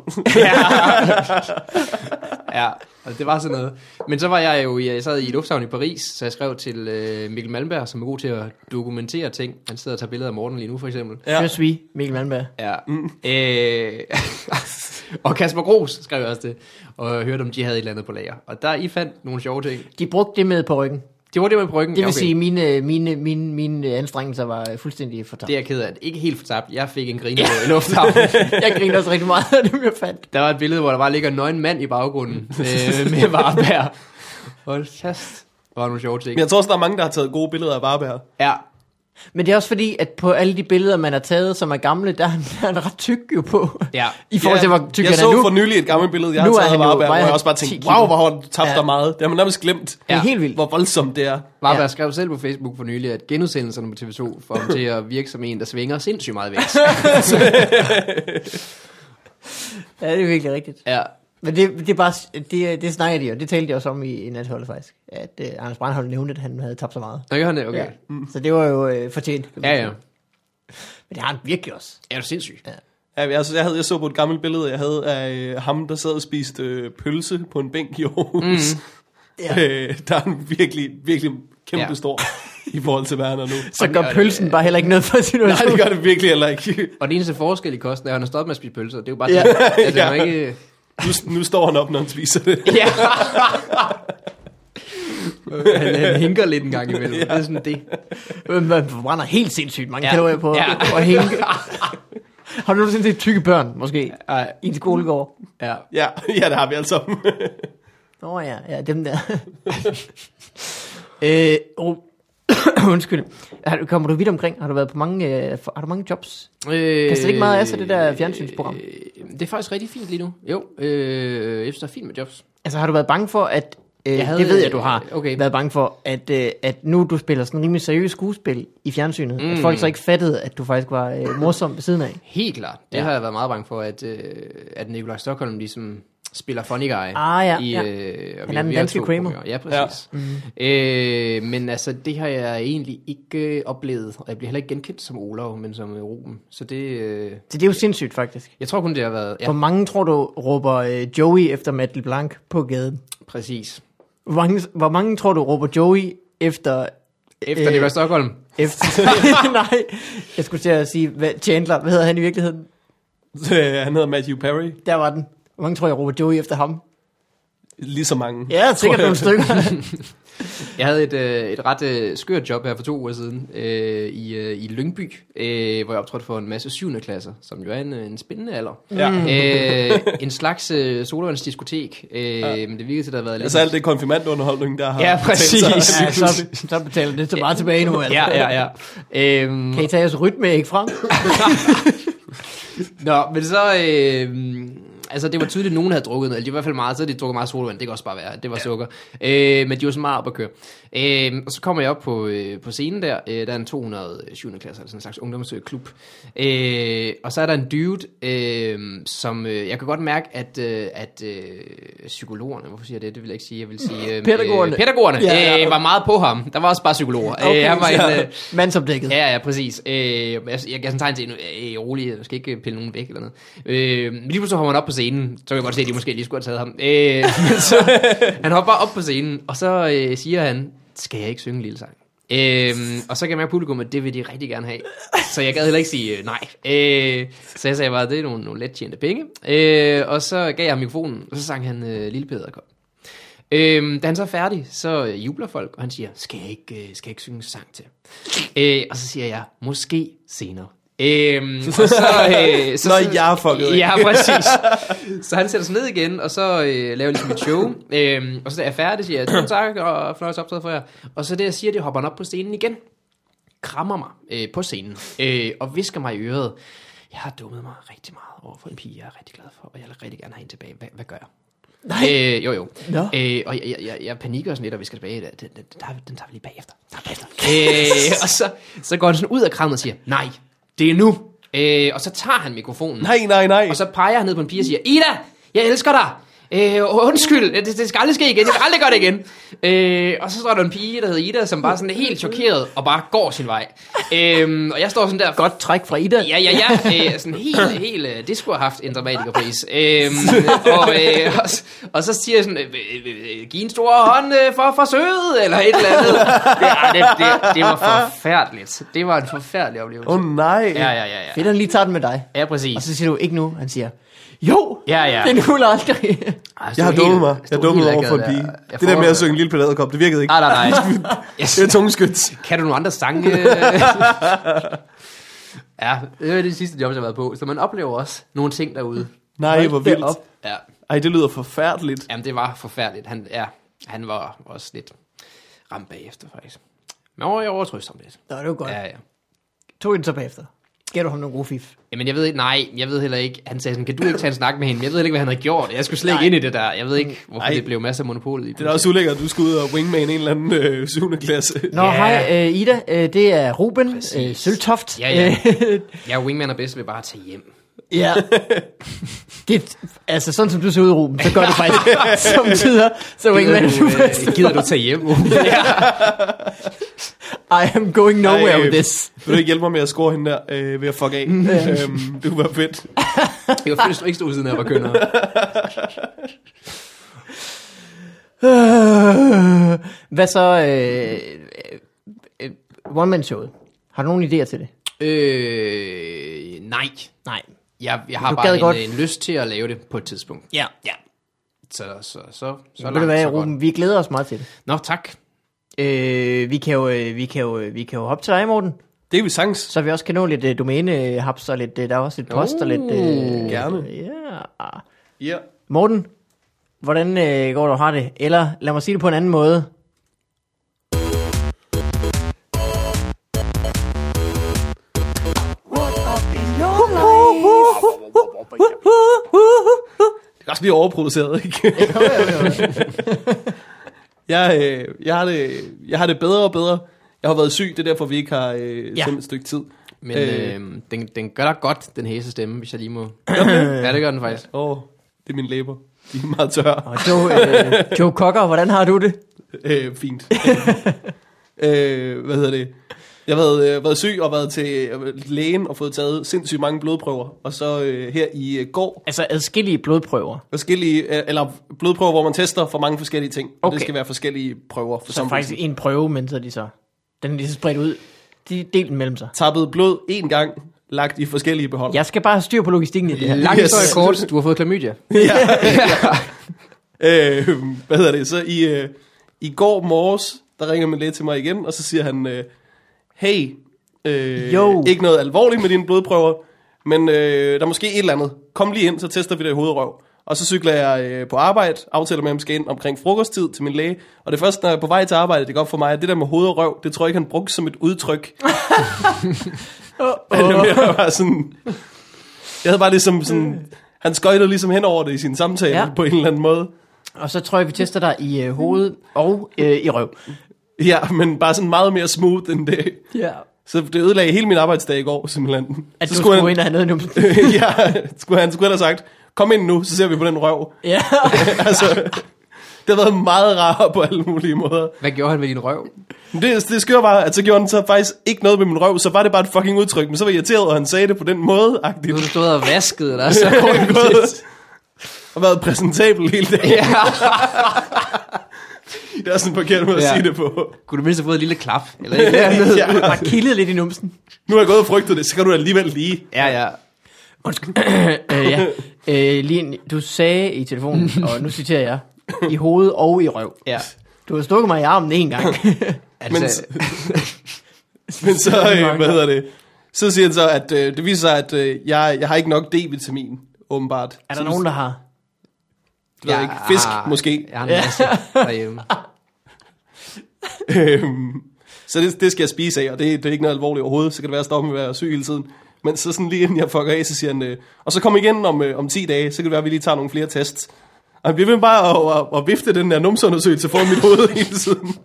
A: Ja, og det var sådan noget. Men så var jeg jo, jeg sad i lufthavn i Paris, så jeg skrev til øh, Mikkel Malmberg, som er god til at dokumentere ting. Han sidder og tager billeder af Morten lige nu, for eksempel.
B: Ja.
C: Ja.
B: Synes vi, Mikkel Malmberg.
A: Ja. Mm. Øh, og Kasper Gros skrev jeg også det, og jeg hørte, om de havde et eller andet på lager. Og der, I fandt nogle sjove ting.
B: De brugte det med på ryggen.
A: Det var det med bryggen.
B: Det vil
A: Ja,
B: okay. sige, mine, mine, mine, mine anstrengelser var øh, fuldstændig fortabt.
A: Det er jeg ked af. Ikke helt fortabt. Jeg fik en griner i lufthavnen.
B: Jeg griner også rigtig meget af dem, jeg fandt.
A: Der var et billede, hvor der bare ligger en nøgen mand i baggrunden øh, med varebær. Hold fast. Der var nogle sjove
C: Men
A: ting.
C: jeg tror også, der er mange, der har taget gode billeder af Varberg.
A: Ja,
B: Men det er også fordi, at på alle de billeder, man har taget, som er gamle, der er han, der er han ret tyk jo på.
A: Ja.
B: I forhold til,
C: Ja,
B: hvor tyk
C: Jeg
B: han
C: så
B: er nu.
C: for nylig et gammelt billede, jeg har
B: Nu er
C: taget af
B: han jo-
C: Varberg, hvor
B: vejer
C: jeg
B: han
C: også bare
B: 10
C: tænkte,
B: kilo.
C: wow, hvor har du tabt
B: Ja.
C: dig meget. Det har man nærmest glemt.
B: Det er helt vildt.
C: Hvor voldsomt det er.
A: Varberg
B: Ja.
A: ja. skrev selv på Facebook for nylig, at genudsendelserne på TV2 får ham til at virke som en, der svinger sindssygt meget væk.
B: Ja, det er virkelig rigtigt.
A: ja.
B: Men det, det er bare, det, det snakker de jo, det talte de også om i, i natholdet faktisk, at uh, Anders Brandholm nævnte, at han havde tabt så meget.
A: Nå, gør han det? Okay.
B: Ja.
A: Ja,
B: Mm. Så det var jo øh, fortjent. kan man
A: ja.
B: sige.
A: ja.
B: Men det har han virkelig også.
A: Er du sindssyg?
C: Ja, jeg, jeg, havde, jeg så på et gammelt billede, jeg havde af øh, ham, der sad og spiste øh, pølse på en bænk i Aarhus. Mm.
B: Ja.
C: Øh, der er han virkelig, virkelig kæmpe
A: Ja.
C: ja. stor i forhold til Werner nu.
B: Så gør
A: og det-
B: pølsen bare heller ikke noget for
C: Nej,
B: situationen.
C: det gør det virkelig heller ikke.
A: Og det eneste forskel i kosten er, at han har stoppet med at spise pølser. Det er jo bare
B: Ja.
A: ja. det. Altså,
C: Ja.
A: ja. ikke...
C: Nu, nu står han op, når han spiser det.
A: Ja. han, han hinker lidt en gang imellem. Ja. Det er sådan det.
B: Men Man forbrænder helt sindssygt mange ja.
A: Ja.
B: kalorier på
A: Ja.
B: ja. at hænge. Har du nogensinde set tykke børn, måske?
A: Ej,
B: I en skolegård?
A: ja.
C: Ja, ja det har vi altså. alle sammen.
B: Nå ja, ja, dem der. øh, oh. Undskyld. Har du- Kommer du vidt omkring? Har du været på mange, øh, for- har du mange jobs?
A: Øh,
B: Kaster det ikke meget af sig, det der fjernsynsprogram?
A: Øh, det er faktisk rigtig fint lige nu. Jo, øh, jeg synes, det er fint med jobs.
B: Altså har du været bange for, at... Øh,
A: Jeg havde-
B: det ved jeg, du har okay.
A: okay.
B: været bange for, at, øh, at nu du spiller sådan rimelig seriøst skuespil i fjernsynet, mm. at folk så ikke fattede, at du faktisk var øh, morsom ved siden af.
A: Helt klart. Det
B: Ja.
A: ja. har jeg været meget bange for, at, øh, at Nikolaj Stockholm ligesom spiller funny guy.
B: Ah, ja,
A: i,
B: ja.
A: Øh, og
B: Han
A: vi-
B: er den
A: vi har
B: danske
A: to
B: Kramer. Mhm.
A: programmer. Ja, præcis. Ja. Mm. Øh, men altså, det har jeg egentlig ikke øh, oplevet, og jeg bliver heller ikke genkendt som Olav, men som øh, Ruben. Så det, øh,
B: Så det er jo sindssygt faktisk.
A: jeg tror kun, det har været, ja,
B: Hvor mange tror du råber øh, Joey efter Matt LeBlanc på gaden?
A: præcis.
B: Hvor mange, hvor mange tror du råber Joey efter...
A: Efter øh, Nikolaj Stockholm.
B: efter nej, jeg skulle til at sige hvad, Chandler. Hvad hedder han i virkeligheden?
C: Øh, han hedder Matthew Perry.
B: Der var den. Hvor mange tror jeg råber Joey efter ham?
C: Lige så mange.
B: Ja, sikkert nogle stykker.
A: Jeg havde et, øh, et ret øh, skørt job her for to uger siden øh, i, øh, i Lyngby, øh, hvor jeg optrådte for en masse syvende klasser, som jo er en, øh, en spændende alder.
C: Ja.
A: øh, en slags øh, sodavandsdiskotek, øh, ja. men det virkede til, at der har været lidt...
C: Altså alt det konfirmandunderholdning, der har...
A: Ja, præcis.
C: betalt sig.
B: ja, så, så betaler det så meget tilbage nu. Altså.
A: Ja, ja, ja. Øhm,
B: Kan I tage jeres rytme ikke frem?
A: Nå, men så... Øh, altså, det var tydeligt, at nogen havde drukket noget. Eller De var i hvert fald meget, så havde de drukket meget sodavand. Det kan også bare være, at det var ja. sukker. Øh, men de var så meget op at køre. Øh, og så kommer jeg op på, øh, på scenen der. Øh, der er en 207. klasse, altså en slags ungdomsklub. Øh, og så er der en dude, øh, som... Øh, jeg kan godt mærke, at, øh, at øh, psykologerne... Hvorfor siger jeg det? Det vil jeg ikke sige. Jeg vil sige... Øh,
B: Pædagogerne.
A: Øh, pædagogerne
B: Ja,
A: ja,
B: ja.
A: ja. Øh, var meget på ham. Der var også bare psykologer. øh, han var en... Øh,
B: Mandsopdækket.
A: Ja, ja, præcis. Øh, jeg, jeg gav sådan tegn til, øh, rolig, du skal ikke pille nogen væk eller noget. Øh, men lige pludselig så hopper han op på scenen, så kan jeg godt se, at de måske lige skulle have taget ham. Øh, men så, han hopper op på scenen, og så øh, siger han, skal jeg ikke synge en lille sang? Øhm, og så kan jeg mærke publikum, at det vil de rigtig gerne have. Så jeg gad heller ikke sige øh, nej. Øh, så jeg sagde bare, det er nogle, nogle let tjente penge. Øh, og så gav jeg ham mikrofonen, og så sang han øh, Lille Peder kom. Øhm, da han så er færdig, så øh, jubler folk, og han siger, skal jeg ikke, øh, skal jeg ikke synge en sang til? Øh, og så siger jeg, måske senere. Øhm, og så, øh, så,
C: Når jeg er fucket af.
A: Ja, præcis. Så han sætter sig ned igen, og så øh, laver ligesom et show. Øhm, og så da jeg er færdig, siger jeg, tusind tak, og fløjt optaget for jer. Og så det, jeg siger, det hopper han op på scenen igen. Krammer mig øh, på scenen, øh, og visker mig i øret. Jeg har dummet mig rigtig meget over for en pige, jeg er rigtig glad for, og jeg vil rigtig gerne have hende tilbage. Hvad, hvad gør jeg? Nej. Øh, jo, jo.
B: Nå.
A: Øh, og jeg, jeg, jeg panikker sådan lidt, og vi skal tilbage. Den, den, den, tager, vi- den tager vi lige bagefter. Den tager vi bagefter. øh, og så, så går han sådan ud af krammet og siger, nej, det er nu. Øh, og så tager han mikrofonen.
C: Nej, nej, nej.
A: Og så peger han ned på en pige og siger, Ida, jeg elsker dig. Øh, undskyld, det, det skal aldrig ske igen, jeg skal aldrig gøre det igen. Øh, og så står der en pige, der hedder Ida, som bare sådan er helt chokeret og bare går sin vej. Øh, og jeg står sådan der...
B: Godt træk fra Ida.
A: Ja, ja, ja. Øh, sådan helt, helt... Øh, det skulle have haft en dramatikerpris. Øhm, og, øh, og, s- og, så siger jeg sådan, øh, øh, øh, giv en stor hånd øh, for forsøget, eller et eller andet. Det, ej, det, det, det var forfærdeligt. Det var en forfærdelig oplevelse.
C: Åh oh, nej.
A: Ja, ja, ja, ja.
B: Fedt, han lige tager den med dig.
A: Ja,
B: Og
A: præcis.
B: så siger du, ikke nu. Han siger, jo,
A: Ja, ja.
B: det er nu eller aldrig.
A: Ej, stod
C: Jeg har
A: helt-
C: dummet mig. Jeg
A: stod
C: dummede
A: helt
C: over for en
A: akavet
C: pige.
A: der. Jeg
C: Det der med
A: får-
C: at synge en lille pedagogkop, det virkede ikke.
A: Nej, nej, nej.
C: Det er tungeskyt.
A: Kan du nogle andre sange? ja, det er det sidste job, jeg har været på. Så man oplever også nogle ting derude.
C: Nej, hvor
B: Hold da
C: vildt.
B: op.
A: Ja,
C: Ej, det lyder forfærdeligt.
A: jamen det var forfærdeligt. Han, ja, han var også lidt ramt bagefter, faktisk. Men jeg overtrøst ham lidt.
B: Nå, det var godt.
A: Ja,
B: Ja.
A: ja.
B: Tog den så bagefter. Gav du ham nogle gode fif?
A: Jamen jeg ved ikke, nej, jeg ved heller ikke, han sagde sådan, kan du ikke tage en snak med hende? Jeg ved heller ikke, hvad han havde gjort. Jeg skulle slet ikke ind i det der. Jeg ved ikke, hvorfor
C: Ej.
A: det blev masser af monopolet i.
C: Det er da også ulækkert, at du skal ud og wingman en eller anden øh, 7. klasse.
B: Nå,
A: Ja.
B: yeah. hej øh, Ida, øh, det er Ruben øh,
A: Præcis.
B: Søltoft.
A: Ja, ja.
B: Øh,
A: Jeg er wingman og bedst ved bare at tage hjem.
B: ja. Det, altså, sådan som du ser ud, Ruben, så gør det faktisk som tider. Så er
A: Gider
B: ikke
A: du,
B: du,
A: øh, gider du tage hjem?
B: I am going nowhere
C: Ej, øh,
B: with this.
C: Vil du ikke hjælpe mig med at score hende der øh, ved at fuck af? øhm, det kunne være fedt.
A: Det var faktisk ikke stod ved siden af, jeg var kønner.
B: Øh, Hvad så? Øh, øh, one man showet. Har du nogen idéer til det?
A: Øh, nej.
B: Nej.
A: Jeg, jeg har
B: Du
A: bare
B: gad
A: en,
B: godt.
A: en lyst til at lave det på et tidspunkt.
B: Ja. ja.
A: Så, så, så, så, så
B: Ved du
A: langt,
B: hvad,
A: så godt.
B: Ruben, vi glæder os meget til det.
A: Nå, tak.
B: Øh, vi, kan jo, øh, vi, kan jo, øh, vi kan jo hoppe til dig, Morten,
C: Det er vi sangs.
B: så vi også kan nå lidt øh, domænehaps og lidt, øh, der er også lidt post og lidt... Øh,
C: gerne.
B: Ja.
C: Ja.
B: Morten, hvordan øh, går du og har det? Eller lad mig sige det på en anden måde.
C: Det er også blive overproduceret, ikke? jeg, øh, jeg, har det, jeg har det bedre og bedre. Jeg har været syg, det er derfor, vi ikke har øh,
B: Ja.
C: ja. et stykke tid.
A: Men
C: Øh.
A: øh. Øh, den, den gør dig godt, den hæse stemme, hvis jeg lige må... ja, det gør den faktisk.
C: Åh, det er mine læber. De er meget tørre.
B: Og Joe, øh, Joe Cocker, hvordan har du det?
C: Øh, fint. øh, hvad hedder det? Jeg har været, øh, været syg og været til øh, lægen og fået taget sindssygt mange blodprøver. Og så øh, her i øh, går,
B: Altså adskillige blodprøver.
C: forskellige, øh, eller blodprøver, hvor man tester for mange forskellige ting. Og
B: Okay.
C: det skal være forskellige prøver. For
B: Så
C: samme
B: faktisk en prøve, men så er de så... Den er lige så spredt ud. De er delt mellem sig.
C: Tappet blod en gang, lagt i forskellige beholder.
B: Jeg skal bare have styr på logistikken i det her.
A: Langt
C: Yes.
A: historie kort, du har fået klamydia.
C: Øh, hvad hedder det? Så i, øh, i går morges, der ringer min læge til mig igen, og så siger han, øh, hey, øh,
B: Jo.
C: ikke noget alvorligt med dine blodprøver, men øh, der er måske et eller andet. Kom lige ind, så tester vi det i hovedrøv. Og så cykler jeg øh, på arbejde, aftaler med ham, skal ind omkring frokosttid til min læge. Og det første, når jeg er på vej til arbejde, det går op for mig, at det der med hoved og røv, det tror jeg ikke, han brugte som et udtryk. Men det var mere bare sådan... Jeg havde bare ligesom sådan... Han skøjtede ligesom hen over det i sin samtale
B: Øh. Ja.
C: ja. på en eller anden måde.
B: Og så tror jeg, vi tester dig i øh, hovedet og øh, i røv.
C: Ja, men bare sådan meget mere smooth end det.
B: Ja.
C: Så det ødelagde hele min arbejdsdag i går, simpelthen.
B: At
C: så
B: du skulle
C: han,
B: ind og have noget nu.
C: ja, skulle han skulle han have sagt, kom ind nu, så ser vi på den røv.
B: ja.
C: altså, det har været meget rart på alle mulige måder.
A: Hvad gjorde han med din røv?
C: Men det, det skør var, at så gjorde han så faktisk ikke noget med min røv, så var det bare et fucking udtryk, men så var jeg irriteret, og han sagde det på den måde,
A: Du
C: agtigt.
A: har stået og vasket dig, så...
C: og været præsentabel hele dagen.
A: ja.
C: der er sådan en forkert måde at
A: Ja.
C: sige det på.
A: Kunne du mindst have fået et lille klap? Eller et eller andet?
C: Ja.
B: Bare kildet lidt i numsen.
C: Nu har jeg gået og frygtet det, så kan du alligevel lige.
A: ja, ja.
B: Undskyld. øh, ja. øh, Lien, du sagde i telefonen, og nu citerer jeg, i hovedet og i røv.
A: ja.
B: Du har stukket mig i armen en gang.
A: Altså, Men...
C: Men så, øh, hvad hedder det? Så siger han så, at øh, det viser sig, at øh, jeg, jeg har ikke nok D-vitamin, åbenbart.
B: er der nogen, der har?
C: der ja, ah, ikke, fisk, måske.
A: ah, Jeg har en masse derhjemme.
C: Øhm, så det, det skal jeg spise af, og det, det er ikke noget alvorligt overhovedet. Så kan det være, at jeg stopper med at være syg hele tiden. Men så sådan lige inden jeg fucker af, så siger han, øh, og så kom igen om, øh, om 10 dage, så kan det være, at vi lige tager nogle flere tests. Og han bliver ved med bare at, at, at vifte den der numseundersøgelse foran mit hoved hele tiden.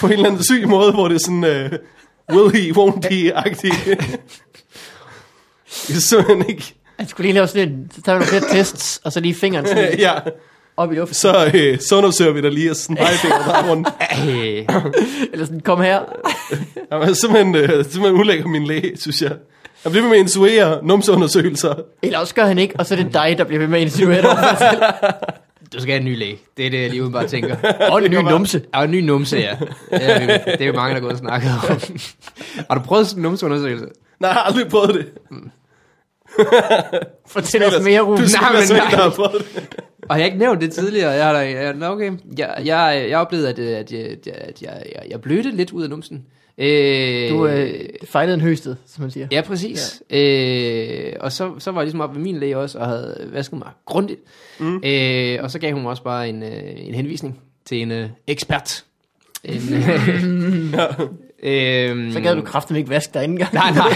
C: På en eller anden syg måde, hvor det er sådan, øh, will he, won't he-agtig. Det er simpelthen ikke...
B: Jeg skulle lige lave sådan en, så tager vi nogle flere tests, og så lige fingeren sådan
C: Øh, ja,
B: op i luften.
C: så, øh, så undersøger vi dig lige, og sådan pegefinger bare rundt.
A: Ej.
B: Eller sådan, kom her.
C: Jamen, jeg er simpelthen, øh, simpelthen ulækker min læge, synes jeg. Jeg bliver ved med at instruere numseundersøgelser.
B: Eller også gør han ikke, og så er det dig, der bliver ved med at insinuere dig.
A: Du skal have en ny læge. Det er det, jeg lige bare tænker.
B: Og en ny numse.
A: Ja, en ny numse, ja. Øhm, Det er jo mange, der går og snakker om. Har du prøvet sådan en numseundersøgelse?
C: Nej, jeg har aldrig prøvet det.
B: Fortæl os mere, Rune.
C: Du skal
A: Nej,
C: nej,
A: men
C: men
A: nej.
C: Der har prøvet det.
A: Og jeg har ikke nævnt det tidligere. Jeg har da, jeg, nå, okay. jeg, jeg, jeg oplevede, at, øh, at, jeg, at, jeg, at jeg, jeg, jeg blødte lidt ud af numsen. Øh,
B: Du øh, fejlede en høstet, som man siger.
A: Ja, præcis. Ja. Øh, og så, så var jeg ligesom oppe ved min læge også, og havde vasket mig grundigt. Mm. Øh, og så gav hun mig også bare en, øh, en henvisning til en øh, ekspert. En, øh, øh,
B: Så gad du kraften ikke vaske dig ikke engang.
A: Nej, nej.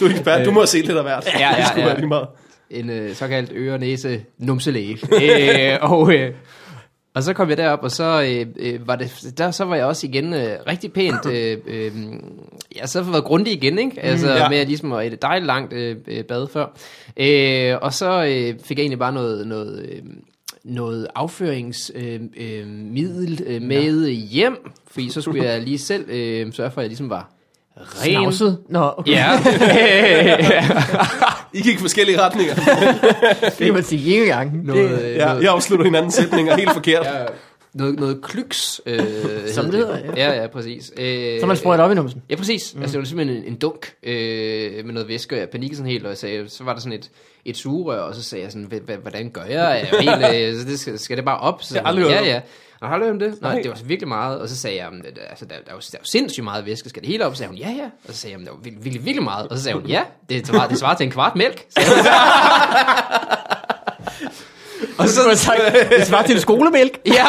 C: Du er ekspert. Du må have set lidt af hvert.
A: Ja, ja,
C: Det skulle
A: ja.
C: være lige meget.
A: en øh, såkaldt øre-næse-numselæge. øh, og, øh, og så kom jeg derop, og så, øh, øh, var, det, der, så var jeg også igen øh, rigtig pænt... Øh, øh, ja, så har jeg været grundig igen, ikke? Altså
C: ja.
A: ja. med at ligesom at et dejligt langt øh, øh, bad før. Øh, og så øh, fik jeg egentlig bare noget... noget øh, noget afføringsmiddel øh, øh, middel, øh, med hjem, fordi så skulle jeg lige selv øh, sørge for, at jeg ligesom var ren.
B: Snavset? Nå, okay.
A: Ja.
C: I gik forskellige retninger.
B: det kan man sige ikke engang.
A: noget, øh,
C: Ja, jeg afslutter hinanden sætninger helt forkert.
A: Ja, noget, noget klyks. Øh,
B: Som
A: hed
B: det hedder,
A: ja. Ja, ja, præcis. Øh,
B: Så man sprøjter op i numsen.
A: Ja, præcis. Mm. Altså, det var simpelthen en, en dunk øh, med noget væske, og jeg panikkede sådan helt, og jeg sagde, så var der sådan et, et sugerør, og så sagde jeg sådan, "Hva- hva- hvordan gør jeg? Er jeg helt, øh, så det skal, skal det bare op? Så
C: Jeg har aldrig hørt
A: ja,
C: om
A: ja. Og har du hørt om det? Nej,
C: Nej.
A: det var virkelig meget. Og så sagde jeg, "Men, det- altså, der, der, er jo, der er jo sindssygt meget væske, skal det hele op? Så sagde hun, ja, ja. Og så sagde jeg, "Men, det var virkelig, virkelig, virkelig meget. Og så sagde hun, ja, det, svarer- det svarer til en kvart mælk. Så jeg,
B: Og så har man sagt, det svarer til skolemælk.
A: Ja!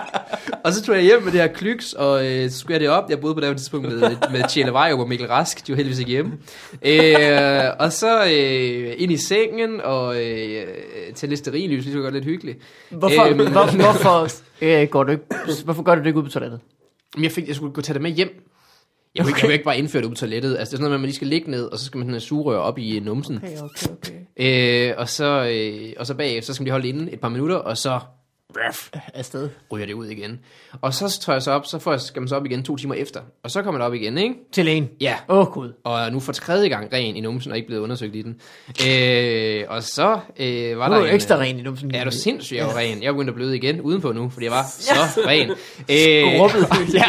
A: og så tog jeg hjem med det her klyks, og øh, så skulle jeg det op. Jeg boede på det her tidspunkt med, med Tjelle Vejrup og Mikkel Rask. De var heldigvis ikke hjemme. Øh, og så øh, ind i sengen, og øh, til listerinlys, det var godt lidt hyggeligt.
B: Hvorfor,
A: Øhm.
B: hvor, hvorfor, øh, går du ikke, hvorfor gør du det ikke ud på toilettet?
A: Men jeg, fik, jeg skulle gå tage det med hjem. Jeg kunne, okay. jeg kunne ikke bare indføre det ud på toilettet. Altså, det er sådan noget, med, at man lige skal ligge ned, og så skal man have en sugerør op i øh, numsen. Okay.
B: okay, okay.
A: Øh, og, så, øh, og så bagefter, så skal man lige holde det inde et par minutter, og så
B: Øh, Afsted.
A: ryger det ud igen. Og så tør jeg så op, så får jeg, skal man så op igen to timer efter. Og så kommer det op igen, ikke?
B: Til lægen.
A: Ja,
B: Åh, oh, gud.
A: og er nu for tredje gang ren i numsen, og ikke blevet undersøgt i den. Øh, og så øh, var
B: Nu
A: der
B: er du
A: en,
B: ekstra
A: øh,
B: ren i numsen.
A: Ja, er du sindssygt, jeg var ren. Jeg er begyndt at bløde igen udenpå nu, fordi jeg var så ren. Øh,
B: Skrubbet.
A: ja.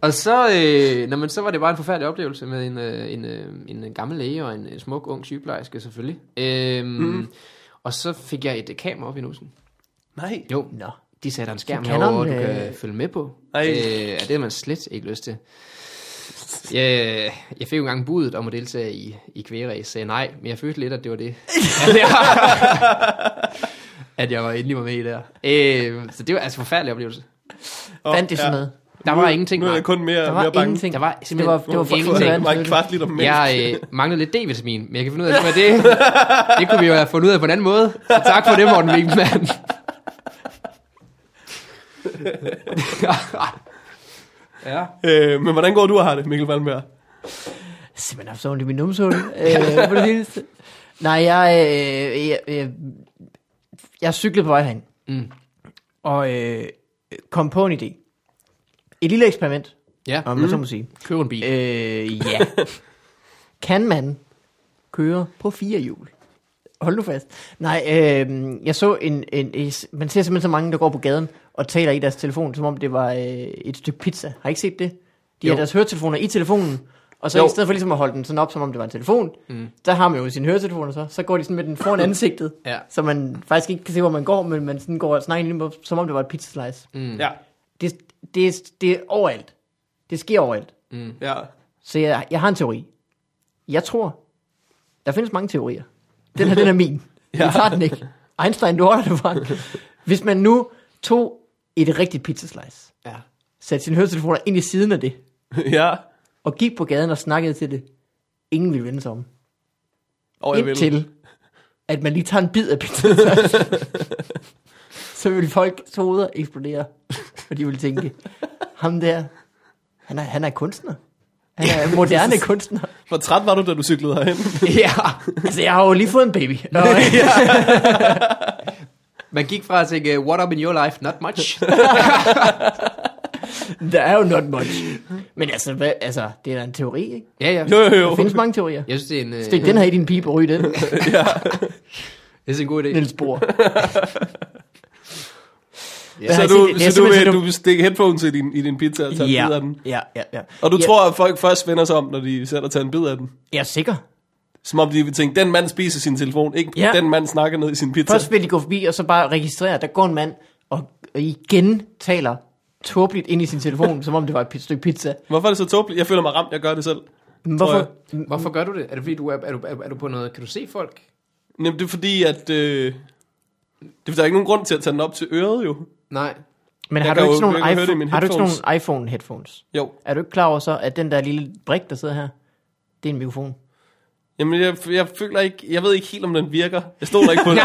A: Og så, øh, når man, så var det bare en forfærdelig oplevelse med en, øh, en, øh, en gammel læge og en, en smuk ung sygeplejerske selvfølgelig. Øh, mm.
B: Mhm.
A: Og så fik jeg et øh, kamera op i numsen.
C: Nej.
A: Jo,
B: Nå.
A: de satte en skærm
B: Så kan
A: herovre, du
B: han, øh,
A: kan følge med på.
C: Ej.
A: Øh, og det har man slet ikke lyst til. Jeg, jeg fik jo engang budet om at deltage i, i kvægeræs, sagde nej, men jeg følte lidt, at det var det. at, jeg, at jeg var endelig var med der. Øh, så det var altså en forfærdelig oplevelse.
C: Åh,
B: Fandt det sådan noget?
A: Der var ingenting,
C: Nu er
A: nej.
C: jeg kun mere,
B: Der var
C: mere bange.
B: ingenting.
A: Der var
B: det
A: simpelthen
B: var, det var for
A: ingenting.
B: intet
C: Det
B: andet.
C: var en kvart liter mælk.
A: Jeg øh, mangler lidt D-vitamin, men jeg kan finde ud af, hvad det er. Det kunne vi jo have fundet ud af på en anden måde. Så tak for det, Morten Wigman. ja.
C: Øh, men hvordan går du og har det, Mikkel Valmberg?
B: Simpelthen haft så ondt i min numsehul. Øh, på det seneste. Nej, jeg, øh, jeg, øh, jeg cyklede på vej herind.
A: Mm.
B: Og øh, kom på en idé. Et lille eksperiment,
A: Ja,
B: om man så må sige.
A: køb en bil.
B: Øh, ja. kan man køre på fire hjul? Hold nu fast. Nej, øh, jeg så en, en, en... Man ser simpelthen så mange, der går på gaden, og og taler i deres telefon, som om det var øh, et stykke pizza. Har I ikke set det? De
A: Jo.
B: har deres høretelefoner i telefonen, og så
A: Jo.
B: jo. i stedet for ligesom at holde den sådan op, som om det var en telefon, mm. der har man jo sine høretelefoner så, så går de sådan med den foran ansigtet,
A: Ja.
B: så man faktisk ikke kan se, hvor man går, men man sådan går og snakker ind, i den, som om det var et pizza slice. Mm.
C: Ja,
B: Det, det, det er overalt. Det sker overalt.
C: ja.
B: Så jeg, jeg har en teori. Jeg tror, der findes mange teorier. Den her, den er min. ja. Jeg tager den ikke. Einstein, du holder det fra. Hvis man nu tog et rigtigt pizzaslice,
A: Ja.
B: satte sine høretelefoner ind i siden af det,
C: ja.
B: og gik på gaden og snakkede til det, ingen ville vende sig om.
C: Og jeg vil.
B: Indtil, at man lige tager en bid af pizzaslice. så ville folks hoveder eksplodere, og de ville tænke, ham der, han er, han er kunstner. Han er moderne kunstner.
C: Hvor træt var du, da du cyklede herhen?
A: ja.
B: Altså, jeg har jo lige fået en baby. Nå,
A: Man gik fra at tænke, what up in your life? Not much.
B: der er jo not much. Men altså, hvad, altså det er da en teori, ikke?
A: ja, ja.
C: jo, jo, jo.
B: Der findes mange teorier.
A: Jeg synes, det er en, øh,
B: Stik den her i din pipe og ryg den,
A: det er en god idé.
B: Niels Bohr.
C: Så,
B: Har I
C: du,
B: set det? Det er
C: så du,
B: simpelthen
C: vil,
B: så
C: du vil stikke headphones i din, i din pizza og tage en bid af den?
B: ja, ja, ja.
C: Og du
B: ja,
C: tror, at folk først vender sig om, når de sætter tager en bid af den?
B: Jeg er sikker.
C: Som om de vil tænke, den mand spiser sin telefon, ikke
B: Ja.
C: den mand snakker ned i sin pizza.
B: Først vil de gå forbi, og så bare registrere, at der går en mand, og, og igen taler tåbeligt ind i sin telefon, som om det var et pi- stykke pizza.
C: Hvorfor er det så tåbeligt? Jeg føler mig ramt, jeg gør det selv.
B: Men
C: Tror
B: hvorfor?
A: Hvorfor gør du det? Er det fordi, du er, er, du, er, er du på noget? Kan du se folk?
C: Jamen, det er fordi, at... Øh, det er, der er ikke nogen grund til at tage den op til øret, jo.
A: Nej.
B: Men
C: Jeg
B: har du,
C: kan jo
B: ikke sådan nogle
C: ikke høre det i
B: iPhone,
C: mine
B: har du ikke sådan
C: headphones.
B: nogle iPhone-headphones?
C: Jo.
B: Er du ikke klar over så, at den der lille brik, der sidder her, det er en mikrofon?
C: Jamen, jeg, jeg føler ikke... Jeg ved ikke helt, om den virker. Jeg stoler ikke på den.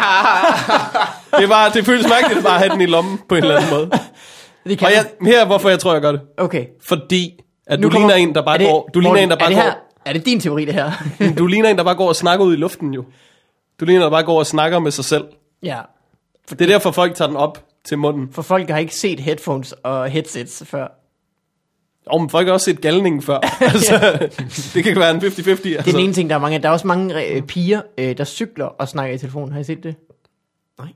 C: det, var, det føles mærkeligt at bare have den i lommen på en eller anden måde.
B: Det
C: Og jeg, her er hvorfor jeg tror, jeg gør det.
B: Okay.
C: Fordi at du ligner en, der bare
B: er det,
C: går... Du ligner
B: Morten,
C: en, der bare
B: er det her,
C: går...
B: Er det din teori, det her?
C: Du ligner en, der bare går og snakker ud i luften, jo. Du ligner en, der bare går og snakker med sig selv.
B: ja.
C: Det er derfor, folk tager den op til munden.
B: For folk har ikke set headphones og headsets før.
C: Og men folk har også set galningen før. altså, det kan være en 50-50. Det
B: Det er
C: altså.
B: den ene ting, der er mange af. Der er også mange øh, piger, øh, der cykler og snakker i telefonen. Har I set det?
A: Nej.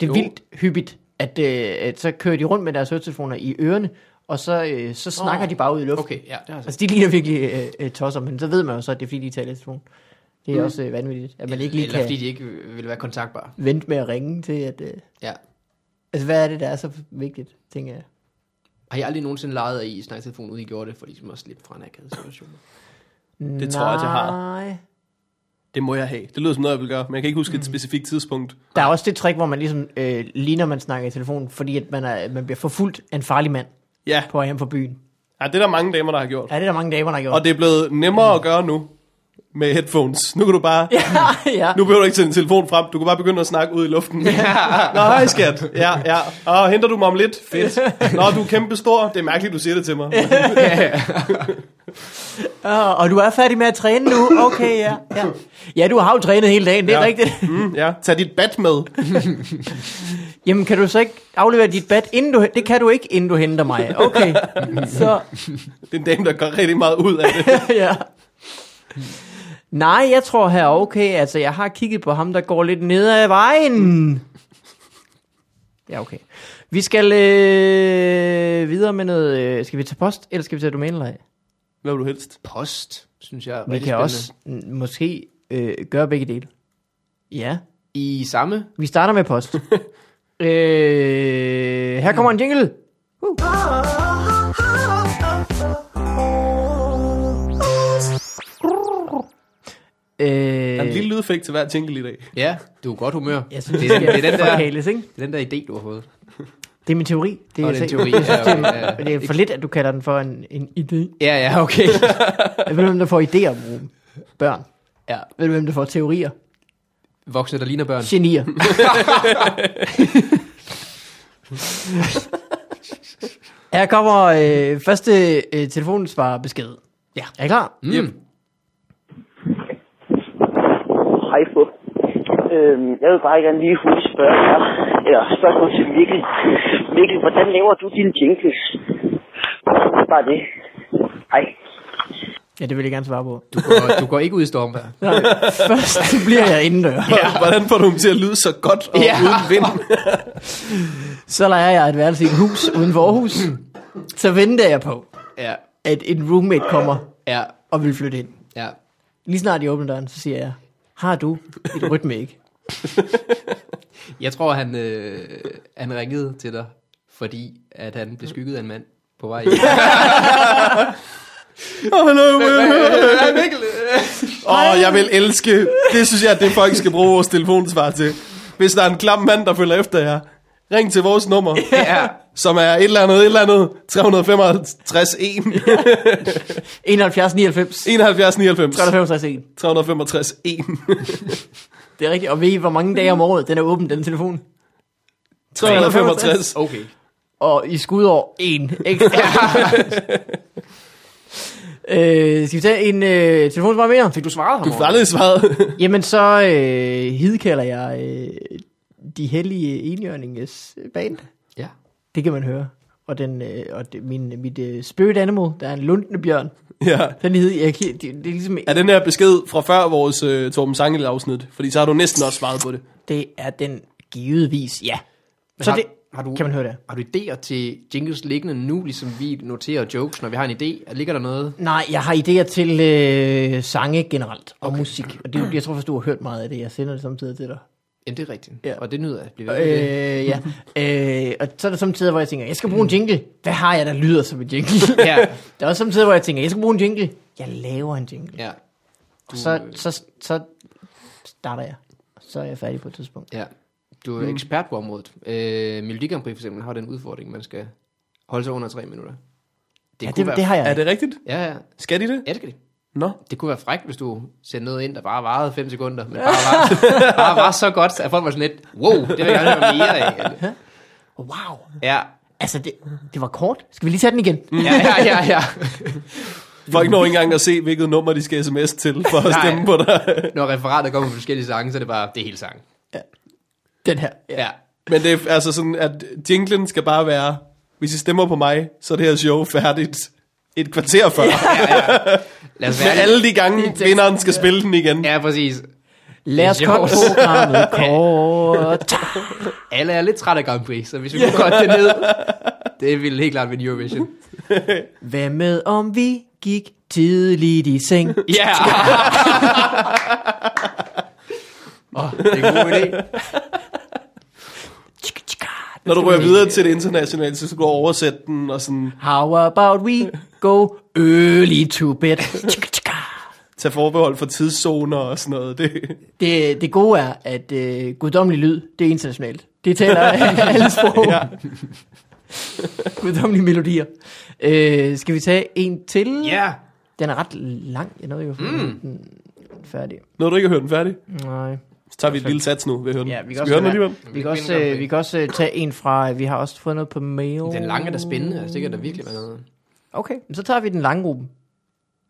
B: Det er
A: Jo.
B: jo. vildt hyppigt, at, øh, at så kører de rundt med deres høretelefoner i ørerne, og så, øh, så snakker
A: Åh,
B: oh, de bare ud i luften.
A: Okay, ja, det har jeg set.
B: Altså, de ligner virkelig øh, øh, tosser, men så ved man jo så, at det er fordi, de taler i telefonen. Det er mm. også øh, vanvittigt, at man ikke lige
A: Eller
B: kan
A: fordi de ikke vil være kontaktbare.
B: vente med at ringe til, at... Øh,
A: Ja.
B: altså, hvad er det, der er så vigtigt, tænker jeg.
A: Har jeg aldrig nogensinde leget af i snakketelefonen, uden I gjorde det, for ligesom at slippe fra en akavet situation?
B: Det
C: tror jeg, at jeg har.
B: Nej.
C: det må jeg have. Det lyder som noget, jeg vil gøre, men jeg kan ikke
B: Mm.
C: huske et specifikt tidspunkt.
B: Der er også det trick, hvor man ligesom øh, ligner, man snakker i telefonen, fordi at man, er, man bliver forfulgt af en farlig mand
C: Ja,
B: på vej hjem fra byen.
C: ja det er der mange damer, der har gjort.
B: Ja, det er der mange damer, der har gjort.
C: Og det er blevet nemmere at gøre nu med headphones. Nu kan du bare...
B: ja, ja.
C: Nu behøver du ikke tage din telefon frem. Du kan bare begynde at snakke ud i luften. Nå, hej skat. Ja, ja. Og henter du mig om lidt? Fedt. Nå, du er kæmpe stor. Det er mærkeligt, du siger det til mig.
B: Ah, og du er færdig med at træne nu. Okay, ja. Ja, ja du har jo trænet hele dagen, det er
C: Ja.
B: ja. rigtigt.
C: Mm, ja. Tag dit bat med.
B: Jamen, kan du så ikke aflevere dit bat, inden du... Det kan du ikke, inden du henter mig. Okay, så...
C: Det er en dame, der gør rigtig meget ud af det.
B: ja. Nej, jeg tror her, okay, altså jeg har kigget på ham, der går lidt ned ad vejen. Ja, okay. Vi skal øh, videre med noget... Øh, skal vi tage post, eller skal vi tage domænelej?
C: Hvad vil du helst?
A: Post, synes jeg er
B: Vi
A: rigtig
B: kan
A: spændende.
B: også mm, måske øh, gøre begge dele. Ja,
A: I samme?
B: vi starter med post. øh, her kommer en jingle. Uh.
C: Der er en
B: Øh,
C: lille lydeffekt til hver jingle i dag.
A: Ja, du er godt humør.
B: jeg synes,
A: det, er, den- det, er den der,
B: Forkæles, ikke?
A: det er den der idé, du har fået.
B: Det er min teori. Det
A: Nå,
B: jeg
A: det er en
B: sagde.
A: teori.
B: Jeg synes,
A: Ja,
B: det,
A: okay,
B: er,
A: ja.
B: det er for lidt, at du kalder den for en, en idé.
A: Ja, ja, okay.
B: Jeg ved, hvem der får idéer om rum. børn.
A: Ja,
B: Ved du, hvem der får teorier?
A: voksne, der ligner børn.
B: Genier. Her kommer øh, første øh, telefonsvarbesked. Ja. Er I klar? Mm.
A: Mm.
E: Hej Fup. Øhm, jeg vil bare gerne lige hurtigt spørge jer, eller spørgsmål til Mikkel. Mikkel, hvordan laver du dine jingles? Det er bare det. Hej.
B: Ja, det vil jeg gerne svare på.
A: Du går, du går ikke ud i Stormberg.
B: Nej, først bliver jeg indendør.
C: Ja. Hvordan får du dem til at lyde så godt og
A: Ja.
C: ja. uden vind?
B: Så leger jeg et værelse i et hus uden for Aarhus. Så venter jeg på,
A: Ja,
B: at en roommate kommer
A: ja,
B: og vil flytte ind.
A: ja.
B: Lige snart de åbner døren, så siger jeg, har du et rytmik?
A: Jeg tror, han, øh, han ringede til dig, fordi at han blev skygget af en mand på vej hjem.
C: Åh, hallo,
A: Hej Mikkel!
C: Åh, jeg vil elske. Det synes jeg, at det folk skal bruge vores telefonsvar til. Hvis der er en klam mand, der følger efter jer, ring til vores nummer,
A: Ja,
C: som er et eller andet, et eller andet, 355 1,
B: 71, 99,
C: 71 99,
B: 365, 1.
C: 365 1,
B: Det er rigtigt. Og ved I, hvor mange dage om året den er åben, den telefon?
C: 365.
A: okay.
B: Og i skudår, en ekstra. øh, skal vi tage en øh, telefonsvar mere?
A: Fik du svaret ham?
C: Du får aldrig svaret.
B: Jamen, så øh, hidkalder jeg øh, de hellige enhjørninges band.
A: Ja.
B: Det kan man høre. Og, den, øh, og det, min, mit øh, spirit animal, der er en lundende bjørn.
C: Ja.
B: Den hed, jeg, kan- det, det, er ligesom,
C: Er den her besked fra før vores øh, Torben Sangel afsnit? Fordi så har du næsten også svaret på det.
B: det er den givetvis, ja.
A: Men
B: Så
A: har-
B: det,
A: har du-
B: kan man høre det.
A: Har du idéer til jingles liggende nu, ligesom vi noterer jokes, når vi har en idé? Ligger der noget?
B: Nej, jeg har idéer til øh, sange generelt og okay. musik. Og det, er jo- jeg tror faktisk, du har hørt meget af det. Jeg sender det samtidig til dig.
A: Jamen, det er rigtigt.
B: Ja.
A: Og det nyder jeg. Bliv ved med det.
B: Øh, ja. øh, og så er der samtidig, hvor jeg tænker, jeg skal bruge en jingle. Hvad har jeg, der lyder som en jingle?
A: Ja.
B: Der er også samtidig, hvor jeg tænker, jeg skal bruge en jingle. Jeg laver en jingle.
A: Ja,
B: Du... Så, så, så starter jeg. Så er jeg færdig på et tidspunkt.
A: ja. Mm. Du er ekspert på området. Øh, Melodi Grand Prix for eksempel har den udfordring, man skal holde sig under tre minutter. Det
B: Det, ja,
A: kunne
B: det,
A: være...
B: det har jeg
C: Er
B: ikke.
C: det rigtigt?
A: Ja, ja.
C: Skal de det?
A: Ja, det skal det.
C: Nå.
A: Det kunne være frækt, hvis du sendte noget ind, der bare varede 5 sekunder, men bare var, bare var så godt, at folk var sådan lidt, wow, det vil jeg gerne høre mere af.
B: Wow.
A: Ja,
B: Altså, det, det var kort. Skal vi lige tage den igen? Mm.
A: ja, ja, ja. ja.
C: Folk når ikke engang at se, hvilket nummer de skal sms til for at
A: Nej.
C: stemme på dig.
A: Når referatet kommer på forskellige sange, så er det bare, det er hele sangen.
B: Den her.
A: Ja.
C: Men det er altså sådan, at jinglen skal bare være, hvis I stemmer på mig, så er det her show færdigt et kvarter før. Ja,
A: Lad os
C: med
A: være
C: alle de gange, vinderen skal spille den igen.
A: Ja, præcis.
B: Lad os
A: Jo.
B: kort programmet kort.
A: Alle er lidt trætte af Grand Prix, så hvis vi kunne godt det ned, det ville helt klart vinde Eurovision.
B: Hvad med om vi gik tidligt i seng?
A: Ja! Yeah. Åh, oh, det er en god idé.
B: Tsk, tsk, ah.
C: Når du rører videre til det internationale, så skal du oversætte den og sådan,
B: How about we go early to bed? Tsk, tsk, ah.
C: tage forbehold for tidszoner og sådan noget. Det,
B: Det, det gode er, at øh, guddommelig lyd, det er internationalt. Det taler alle sprog. ja. Guddommelige melodier. Øh, skal vi tage en til?
A: Ja!
B: Den er ret lang. Jeg nåede jo at få den færdig.
C: når du ikke har hørt den færdig,
B: Nej.
C: så tager vi et lille sats nu ved at høre den.
B: Ja, vi kan
C: Skal
B: også
C: høre den
B: lade være.
C: alligevel?
B: Vi kan også, øh, vi kan også øh, tage en fra... Vi har også fået noget på mail.
A: Den lange er da spændende, altså det kan da virkelig være noget.
B: Okay, men så tager vi den lange gruppe.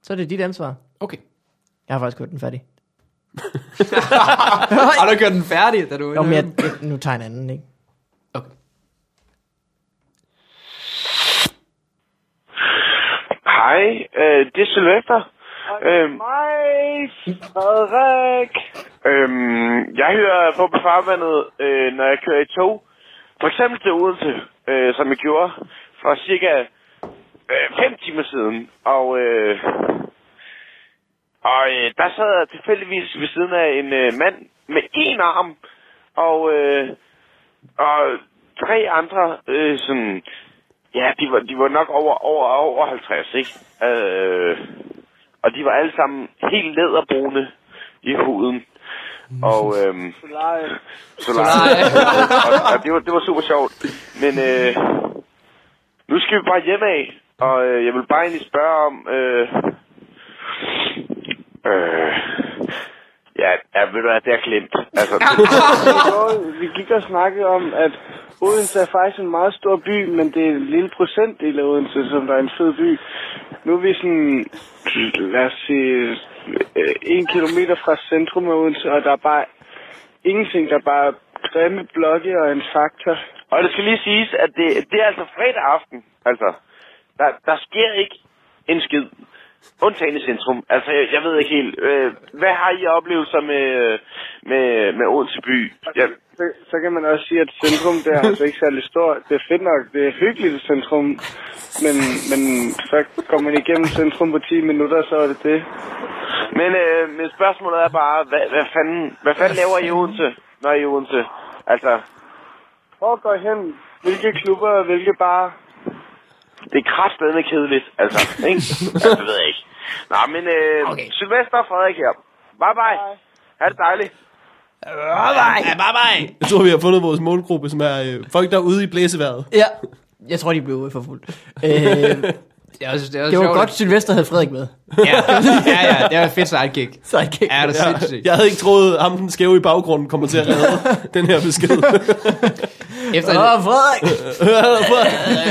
B: Så er det dit ansvar.
A: Okay.
B: Jeg har faktisk gjort den færdig.
A: Har du gjort den færdig, da du...
B: Nå, men jeg, jeg, nu tager jeg en anden, ikke?
A: Okay.
E: Hej, øh, det er Sylvester. Øhm, Hej, Frederik. Øhm, jeg hører på på farvandet, øh, når jeg kører i tog. For eksempel til Odense, øh, som jeg gjorde for cirka 5 timer siden. Og, øh, og øh, der sad jeg tilfældigvis ved siden af en øh, mand med en arm. Og, øh, og tre andre øh, sådan Ja, de var, de var nok over, over, over 50, ikke? Øh, og de var alle sammen helt læderbrune i huden. Og, øhm, Solare. og, og det, var, det var super sjovt. Men øh, nu skal vi bare hjem af, og øh, jeg vil bare egentlig spørge om... Øh, øh, ja, ja, ved du hvad, det er glemt. Altså, det,
F: går- vi gik og snakkede om, at Odense er faktisk en meget stor by, men det er en lille procentdel af Odense, som der er en fed by. Nu er vi sådan, lad os sige, øh, en kilometer fra centrum af Odense, og der er bare ingenting, der er bare grimme blokke og en faktor.
E: Og det skal lige siges, at det, det er altså fredag aften. Altså, der, der sker ikke en skid. Undtagen i centrum. Altså, jeg, jeg ved ikke helt. Øh, hvad har I oplevelser med, øh, med, med Odense by? Jeg,
F: Så, så kan man også sige, at centrum der er altså ikke særlig stort. Det er fedt nok, det er hyggeligt et centrum, men, men så går man igennem centrum på 10 minutter, så er det det.
E: men, øh, men spørgsmålet er bare, hvad, hvad, fanden, hvad fanden laver I i Odense, når I er i Odense? Altså,
F: Hvor går I hen? Hvilke klubber og hvilke barer?
E: det er kraftedeme kedeligt, altså, ikke? Altså, det ved jeg ikke. Nå, men øh, okay. Sylvester og Frederik her. Bye bye. bye. Ha' det dejligt.
C: Øh, Jeg tror, vi har fundet vores målgruppe, som er øh, folk, der er ude i blæseværet.
B: Ja, jeg tror, de blev for fuldt. Øh,
A: Det, er også, det, er også
B: det var
A: sjovt.
B: godt, Sylvester havde Frederik med.
A: Ja, ja, ja, det var et fedt sidekick.
B: Så jeg kan
A: Ja, det er
C: Ja,
A: sindssygt.
C: jeg havde ikke troet, at ham den skæve i baggrunden kommer til at redde den her besked.
A: Efter,
B: Åh, Frederik!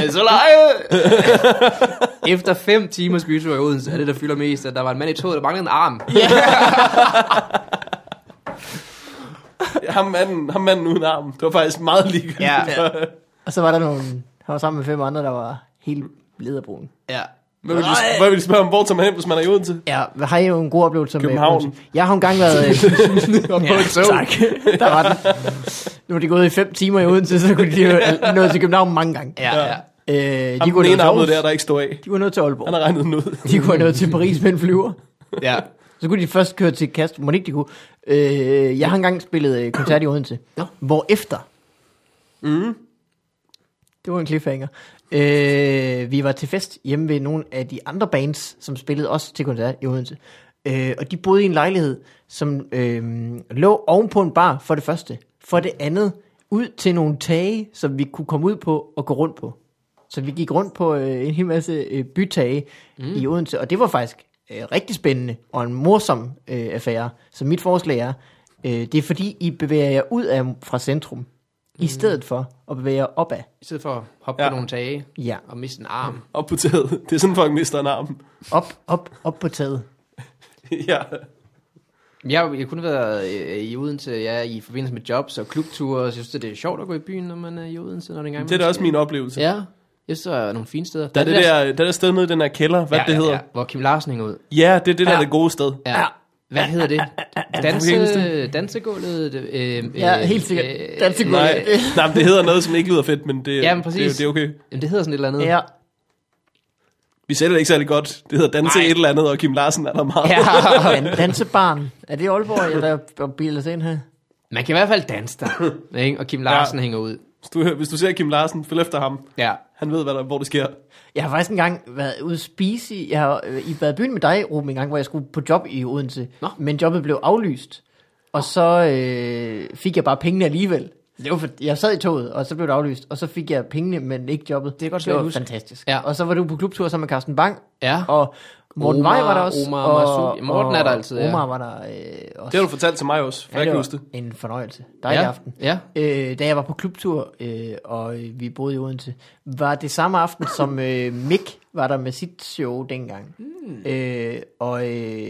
A: Øh, så lege! Efter fem timers bytur i Odense, er det, der fylder mest, at der var en mand i toget, der manglede en arm.
C: ham, manden, ham manden uden arm. Det var faktisk meget ligegyldigt.
A: Ja.
B: Og så var der nogle... Han var sammen med fem andre, der var helt lederbrune.
A: Ja.
C: Hvad vil, du, hvad vil du spørge om, hvor tager man hen, hvis man er i Odense?
B: Ja, hvad har I jo en god oplevelse med
C: København.
B: Odense? Jeg har jo engang været... Øh,
A: På et tog.
B: tak. Der var den. Nu er de gået i fem timer i Odense, så kunne de jo nå til København mange gange.
A: Ja, ja.
B: Øh, de
C: Ham,
B: kunne
C: den ene
B: nå
C: armede
B: til
C: der,
B: Aarhus.
C: der ikke står af.
B: De kunne nå til Aalborg.
C: Han har regnet den ud.
B: De kunne nå til Paris med en flyver.
A: ja.
B: Så kunne de først køre til Kast. Må ikke de kunne? Øh, jeg har engang spillet øh, koncert i Odense.
A: Nå.
B: Hvor efter... Mm. Det var en cliffhanger. Øh, vi var til fest hjemme ved nogle af de andre bands, som spillede også til koncert i Odense. Øh, og de boede i en lejlighed, som øh, lå ovenpå en bar for det første. For det andet, ud til nogle tage, som vi kunne komme ud på og gå rundt på. Så vi gik rundt på øh, en hel masse øh, bytage mm. i Odense, og det var faktisk øh, rigtig spændende og en morsom øh, affære. Så mit forslag er, øh, det er fordi I bevæger jer ud af fra centrum, mm. i stedet for at bevæge jer opad.
A: I stedet for at hoppe
C: Ja.
A: ja. på nogle tage
B: Ja,
A: og miste en arm.
C: Op på taget. Det er sådan, folk mister en arm.
B: op, op, op på taget.
C: ja.
A: Jeg, jeg kunne have været øh, i Odense ja, i forbindelse med jobs og klubture, så jeg synes, det er sjovt at gå i byen, når man er i Odense, når det engang
C: Det er da også min oplevelse.
A: Ja, jeg synes, der er nogle fine steder.
C: Der er det der, der, er der sted nede i den her kælder. Hvad
A: ja,
C: ja, det hedder?
A: Ja,
C: Ja,
A: ja, hvor Kim Larsen hænger ud.
C: ja. det er det, der er det gode sted.
A: Ja. Hvad hedder det? Danse,
C: Henningsen.
A: dansegulvet? Øh, øh,
B: Ja, helt sikkert.
A: øh,
B: Dansegulvet.
C: Nej,
A: øh,
C: nej men det hedder noget, som ikke lyder fedt, men det,
A: Jamen,
C: det,
A: præcis.
C: det, det er okay.
A: Jamen, det hedder sådan et eller andet.
B: Ja,
C: Vi sælger det ikke særlig godt. Det hedder Danse
A: Nej.
C: et eller andet, og Kim Larsen er der meget.
A: Ja.
B: Dan- dansebarn. Er det Aalborg, jeg der bilder sig ind her?
A: Man kan i hvert fald danse der, ikke? og Kim Larsen
C: Ja.
A: ja. hænger ud.
C: Hvis, du, hvis du ser Kim Larsen, følg efter ham.
A: Ja.
C: Han ved, hvad der, hvor det sker.
B: Jeg har faktisk engang været ude at spise i, jeg har øh, i været i byen med dig, Ruben, en gang, hvor jeg skulle på job i Odense.
A: Nå.
B: Men jobbet blev aflyst. Og så øh, fik jeg bare pengene alligevel. Det var for, jeg sad i toget, og så blev det aflyst, og så fik jeg pengene, men ikke jobbet.
A: Det er godt
B: det
A: svært at
B: var
A: huske.
B: fantastisk.
A: Ja.
B: Og så var du på klubtur sammen med Carsten Bang,
A: Ja.
B: og Morten
A: Omar,
B: Vej var der også.
A: Omar
B: og,
A: Masudi. Morten er der altid,
B: ja.
A: ja.
B: Omar var der øh, også.
C: Det har du fortalt til mig også, for jeg kan huske det.
B: var en fornøjelse. Dejlig
A: ja.
B: aften.
A: Ja.
B: Øh, da jeg var på klubtur, øh, og øh, vi boede i Odense, var det samme aften, som øh, Mick var der med sit show dengang. Mm. Øh, og øh,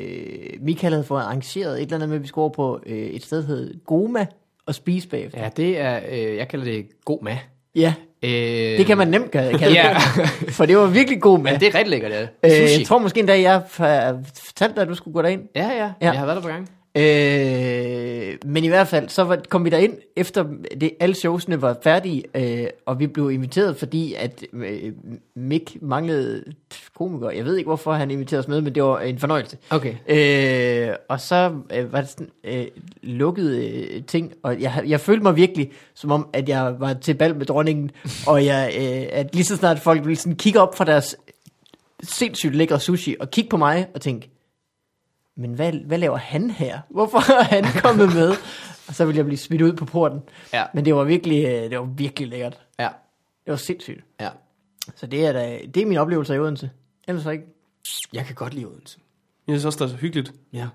B: Michael havde fået arrangeret et eller andet med, at vi skulle over på øh, et sted, der hed Goma, og spise bagefter.
A: ja, det er, øh, jeg kalder det god mad.
B: Ja,
A: Øh,
B: det kan man nemt kalde kalde
A: Ja.
B: det, for det var virkelig god mad.
A: Men det er rigtig lækkert, det
B: Øh,
A: er. Sushi.
B: jeg tror måske en dag, jeg har fortalt dig, at du skulle gå derind.
A: Ja, ja,
B: Ja.
A: ja. Jeg har været der på gang.
B: Øh, men i hvert fald, så var, kom vi derind, efter det, alle showsene var færdige, øh, og vi blev inviteret, fordi at øh, Mick manglede komikere. Jeg ved ikke, hvorfor han inviterede os med, men det var en fornøjelse.
A: Okay.
B: Øh, og så øh, var det sådan øh, lukkede øh, ting, og jeg, jeg følte mig virkelig, som om, at jeg var til bal med dronningen, og jeg, øh, at lige så snart folk ville sådan kigge op fra deres sindssygt lækre sushi, og kigge på mig og tænke, men hvad, hvad laver han her? Hvorfor er han kommet med? Og så ville jeg blive smidt ud på porten.
A: Ja.
B: Men det var virkelig, øh, det var virkelig lækkert.
A: Ja,
B: Det var sindssygt.
A: ja.
B: Så det er, da, det er min oplevelse i Odense. Ellers er ikke
A: Jeg kan godt lide Odense.
C: Jeg synes også, det er så hyggeligt.
A: Ja.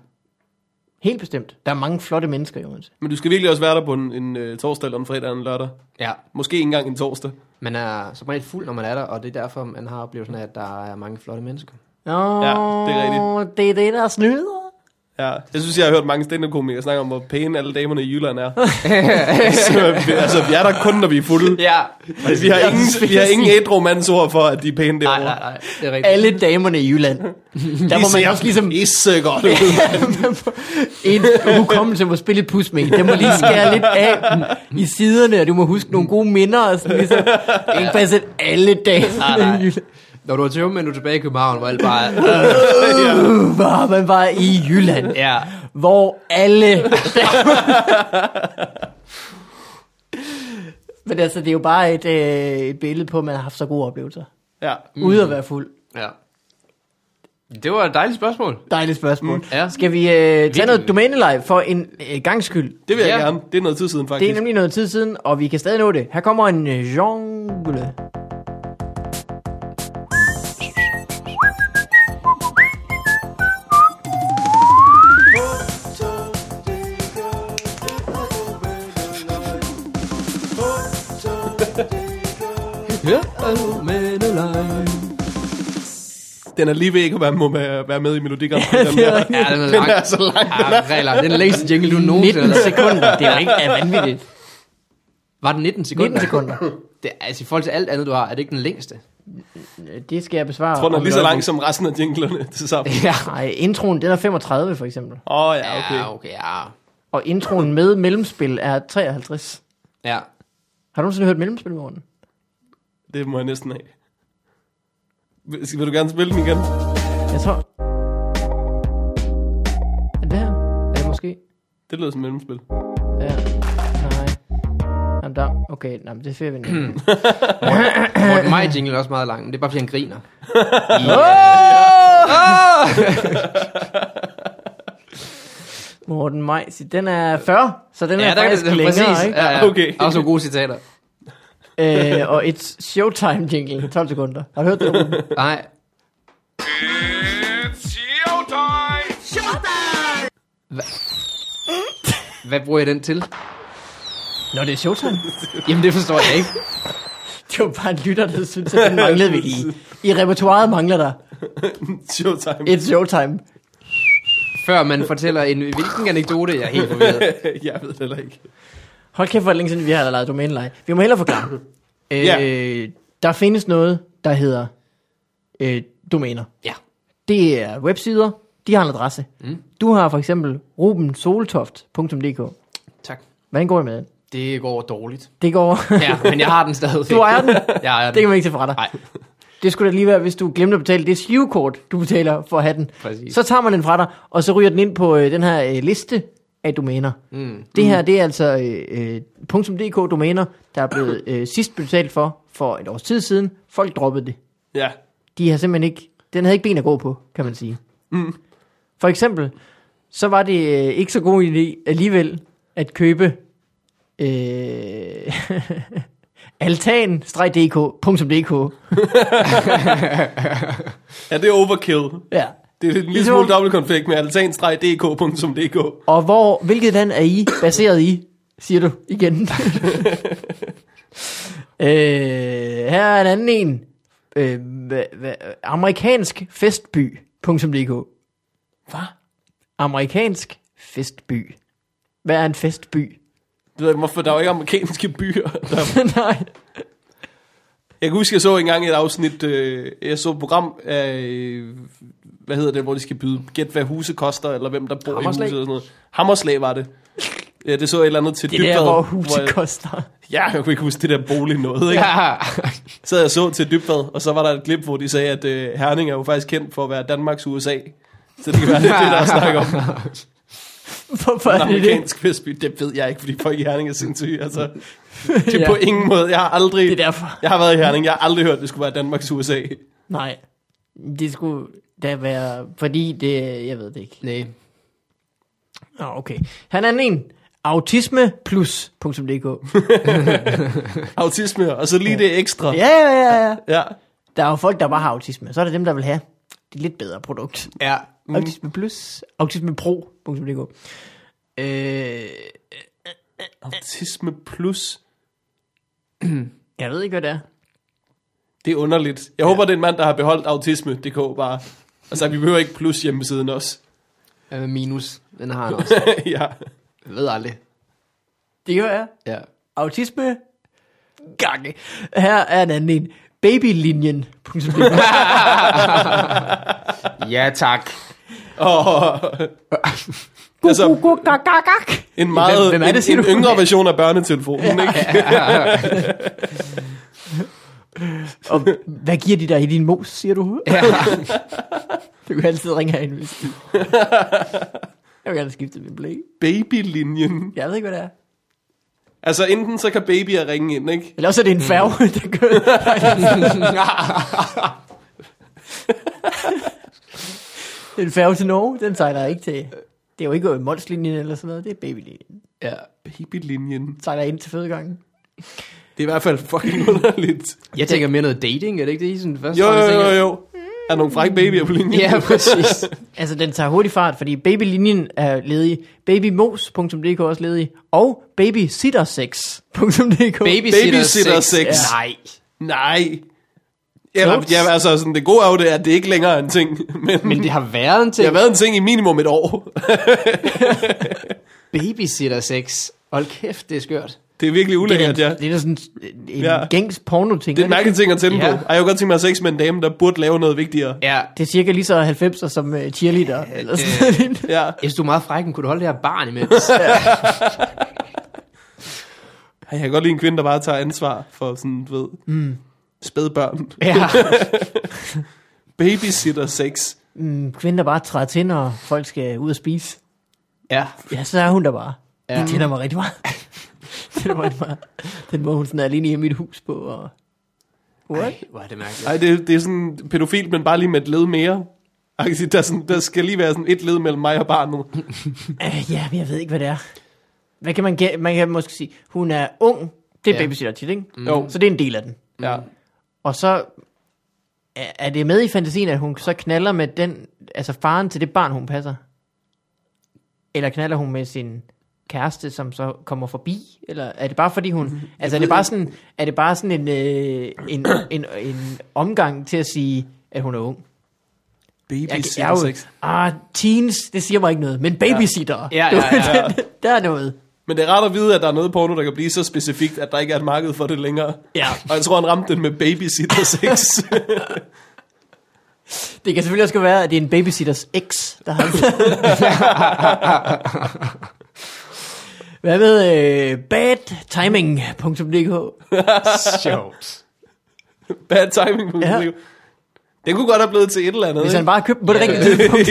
B: helt bestemt. Der er mange flotte mennesker i Odense.
C: Men du skal virkelig også være der på en, en øh, torsdag eller en fredag eller en lørdag.
A: Ja,
C: Måske ikke engang en torsdag.
A: man er som regel fuld, når man er der, og det er derfor, man har oplevelsen af, at der er mange flotte mennesker.
B: Nå,
C: Ja, det er rigtigt.
B: Det er det, der snyder.
C: Ja, jeg synes, jeg har hørt mange stand-up-komikere snakke om, hvor pæne alle damerne i Jylland er. så, vi- altså, vi er der kun, når vi er fulde.
A: Ja.
C: Altså, vi har ingen, vi har ingen ædru mandsord for, at de er pæne
A: Nej,
C: derovre.
A: nej, nej. Det er rigtigt.
B: Alle damerne i Jylland. Der må man også ligesom...
C: Isse godt ud.
B: en hukommelse må spille et pus med. Den må lige skære lidt af dem i siderne, og du må huske nogle gode minder. Og sådan, ligesom. Det er ikke bare sådan alle damerne
A: Ah, Nej,
B: i
A: nej.
B: Jylland.
A: Når du var til men du er tilbage i København, hvor alt bare...
B: Uh, var man var i Jylland,
A: Ja.
B: hvor alle... Men altså, det er jo bare et, øh, et billede på, at man har haft så gode oplevelser.
C: Ja.
B: Mm. Ude at være fuld.
A: ja. Det var et dejligt spørgsmål.
B: Dejligt spørgsmål. Mm.
A: Ja.
B: Skal vi øh, tage noget domæneleje for en øh, gangs skyld?
C: Det vil jeg
A: Ja.
C: gerne. Det er noget tid siden, faktisk.
B: Det er nemlig noget tid siden, og vi kan stadig nå det. Her kommer en øh, jungle.
A: Ja, men alene.
C: Den er lige ved ikke at være, må være, være med i Melodi Grand Prix. den
B: det er
C: der.
B: rigtigt.
A: Ja, den er
C: Den
A: lang.
C: er så lang.
A: Ja, regler. Den er den længste jingle, du nogensinde
B: 19
A: har lavet.
B: sekunder, det er jo ikke er vanvittigt.
A: Var den 19 sekunder?
B: 19 sekunder.
A: Det, er- altså i forhold til alt andet, du har, er det ikke den længste?
B: Øh, Det skal jeg besvare.
C: Jeg tror, den er
B: om
C: lige
B: et
C: så lang
B: øjeblik.
C: som resten af jinglerne til sammen.
A: Ja.
B: Nej, introen den er 35 for eksempel.
C: Åh oh, ja, okay.
A: Ja, okay, ja.
B: Og introen med mellemspil er 53.
A: Ja.
B: Har du nogensinde hørt mellemspil, Morten?
C: Det må jeg næsten have. Vil, skal- vil du gerne spille den igen?
B: Jeg tror... Er det her? Er det måske?
C: Det lyder som mellemspil.
B: Ja. Nej. Jamen, der... Okay, nej, men det finder vi ikke.
A: Morten Maj jingle er også meget lang, men det er bare, fordi han griner.
B: Morten Maj, den er 40, så den er
A: der
B: faktisk længere, ikke?
A: Ja, ja.
C: Okay.
A: Okay. Også nogle gode citater.
B: øh, og et showtime jingle, 12 sekunder. Har du hørt det? Ruben?
A: Nej. Hva- Hvad bruger jeg den til?
B: Nå, det er showtime.
A: Jamen, det forstår jeg ikke.
B: Det var bare en lytter, der synes, at den manglede vi lige. I repertoireet mangler der
C: Showtime.
B: et showtime.
A: Før man fortæller en... Hvilken anekdote? Jeg er helt forvirret.
C: jeg ved det heller ikke.
B: Hold kæft, hvor er det længe siden vi har lavet domæneleje. Vi må hellere forklare. øh,
C: Ja.
B: Der findes noget, der hedder øh, domæner.
A: Ja.
B: Det er websider, de har en adresse. Mm. Du har for eksempel rubensoltoft.dk.
A: Tak.
B: Hvordan går det med den?
A: Det går dårligt.
B: Det går...
A: Ja, men jeg har den stadig.
B: Du ejer den.
A: Jeg ejer den.
B: Det kan man ikke se fra dig.
A: Nej.
B: Det skulle da lige være, hvis du glemte at betale det sivekort, du betaler for at have den.
A: Præcis.
B: Så tager man den fra dig, og så ryger den ind på øh, den her øh, liste af domæner. Mm. Det her, det er altså øh, øh, .dk-domæner, der er blevet øh, sidst betalt for, for et års tid siden. Folk droppede det.
C: Ja.
B: De har simpelthen ikke, den havde ikke ben at gå på, kan man sige. Mm. For eksempel, så var det øh, ikke så god idé alligevel at købe øh, altan-dk.dk.
C: Ja, det er overkill.
B: Ja.
C: Det er en lille
B: Ligesom-
C: smule dobbeltkonflikt med altan-dk.dk.
B: Og hvor, hvilket land er I baseret i, siger du igen. øh, her er en anden en. Øh, hva, hva, amerikansk festby.dk Hvad? Amerikansk festby. Hvad er en festby?
C: Det ved jeg, ikke, hvorfor der er jo ikke amerikanske byer. Der
B: Nej.
C: Jeg kan huske, jeg så engang et afsnit, øh, jeg så et program af, øh, hvad hedder det, hvor de skal byde, gæt hvad huse koster, eller hvem der bor
A: Hammerslag?
C: i huset og sådan noget. Hammerslag var det. Ja, det så jeg et eller andet til
B: Det er der,
C: Dybvad,
B: hvor huset
C: jeg,
B: koster.
C: Ja, jeg kunne ikke huske det der bolig noget, ikke? Ja.
A: Ja.
C: Så jeg så til Dybvad, og så var der et klip, hvor de sagde, at øh, Herning er jo faktisk kendt for at være Danmarks USA. Så det kan være lidt det, der er snak om.
B: Hvorfor
C: En
B: er det det?
C: amerikansk festby, det ved jeg ikke, fordi folk i Herning er sindssyge. Altså, det er
B: Ja.
C: ja. på ingen måde. Jeg har aldrig...
B: Det er derfor.
C: Jeg har været i Herning, jeg har aldrig hørt, at det skulle være Danmarks USA.
B: Nej. Det skulle da være, fordi det, jeg ved det ikke.
A: Nej.
B: Nå, okay. Han er en autismeplus.dk.
C: autisme, og så lige ja. det ekstra.
B: Ja, ja, ja, ja.
C: ja.
B: Der er jo folk, der bare har autisme. Så er det dem, der vil have det lidt bedre produkt.
A: Ja.
B: Mm. Autisme plus, autismepro.dk. Øh,
C: Autisme plus.
B: jeg ved ikke, hvad det er.
C: Det er underligt. Jeg ja. håber, det er en mand, der har beholdt autisme.dk bare. Altså, vi behøver ikke plus hjemmesiden også.
A: Øh, minus, den har han også.
C: ja.
A: Jeg ved aldrig.
B: Det gør jeg.
A: Ja.
B: Autisme. Gange. Her er en anden en. Babylinjen. Punktum dk.
A: Ja, tak.
C: Og altså,
B: Guk, gak, gak, gak.
C: en meget
A: hvem er det,
C: en,
A: siger
C: en
A: du?
C: yngre version af børnetelefonen. Ikke?
B: Og hvad giver de dig i din mos, siger du?
A: Ja.
B: Du kan altid ringe herind, hvis du Jeg vil gerne skifte min blæk.
C: Babylinjen.
B: Jeg ved ikke, hvad det er.
C: Altså enten så kan babyer ringe ind, ikke?
B: Eller også er det en færge, der kører. det er en færge til Norge, den sejler ikke til. Det er jo ikke Molslinjen eller sådan noget, det er babylinjen.
A: Ja.
C: Babylinjen.
B: Den sejler ind til fødegangen.
C: Det er i hvert fald fucking underligt.
A: Jeg tænker mere noget dating, er det ikke det, I sådan først?
C: Jo,
A: og fremmest
C: jo, jo,
A: tænker?
C: jo. Er der nogle frække babyer på linjen?
A: Ja, præcis.
B: Altså, den tager hurtig fart, fordi babylinjen er ledig. Babymos.dk er også ledig. Og babysittersex.dk.
A: Babysitter
C: Babysitter
A: sex.
C: sex.
A: Ja. Nej.
C: Nej. Ja,
B: Klogt.
C: ja, altså sådan, det gode er jo, det, er, at det ikke længere er en ting. Men,
A: Men det har været en
C: det
A: ting.
C: har været en ting i minimum et år.
A: Babysitter sex. Hold kæft, det er skørt.
C: Det er virkelig ulækkert,
B: det, er,
C: ja.
B: da- det er da sådan en
C: Ja.
B: ja. gængs porno-ting.
C: Det er
B: er
C: en
B: det ikke?
C: mærkelig ting at tænde
A: Ja.
C: på. Ej, jeg kunne godt tænke mig at have sex med en dame, der burde lave noget vigtigere.
A: Ja.
B: det er cirka lige så 90'er som uh, cheerleader. eller sådan noget.
C: Ja.
A: Jeg synes, du er meget fræk, men kunne du holde det her barn imens?
C: Ej, jeg kan godt lide en kvinde, der bare tager ansvar for sådan, du ved, mm. spædbørn.
A: ja.
C: Babysitter sex.
B: Mm, Kvinder der bare træder til, når folk skal ud og spise.
A: Ja.
B: Ja, så er hun der bare. Ja.
A: Ja.
B: Det tænder mig rigtig meget. Det tænder mig rigtig meget. Den måde, hun sådan er alene hjemme i mit hus på. Og... What?
A: Ej, hvor er det mærkeligt.
C: Ej, det, det er sådan pædofilt, men bare lige med et led mere. Agtigt, Der, er sådan, der skal lige være sådan et led mellem mig og barnet.
B: Øh, ja, men jeg ved ikke, hvad det er. Hvad kan man, gæ- man kan måske sige, hun er ung. Det er ja.
A: Ja.
B: babysitter tit, ikke? Mm.
C: Jo.
B: Så det er en del af den.
C: Ja.
B: Og så er er det med i fantasien, at hun så knaller med den, altså faren til det barn, hun passer? Eller knaller hun med sin kæreste, som så kommer forbi? Eller er det bare fordi
A: Mhm.
B: hun... Altså er det bare sådan, er det bare sådan en, øh, en, en, en omgang til at sige, at hun er ung? Jeg, jeg
C: Babysitter
B: er jo,
C: sex.
B: ah, teens, det siger mig ikke noget, men babysitter,
A: Ja, ja, ja.
B: der er noget.
C: Men det er rart at vide, at der er noget porno, der kan blive så specifikt, at der ikke er et marked for det længere.
B: Ja.
C: Og jeg tror, han ramte den med babysitter sex.
B: Det kan selvfølgelig også godt være, at det er en babysitters ex, der har Hvad med øh, badtiming.dk?
A: Sjovt.
C: Bad timing på
B: Ja.
C: ja. Den kunne godt have blevet til et eller andet.
B: Hvis
C: ikke?
B: han bare købte den på det rigtige tidspunkt.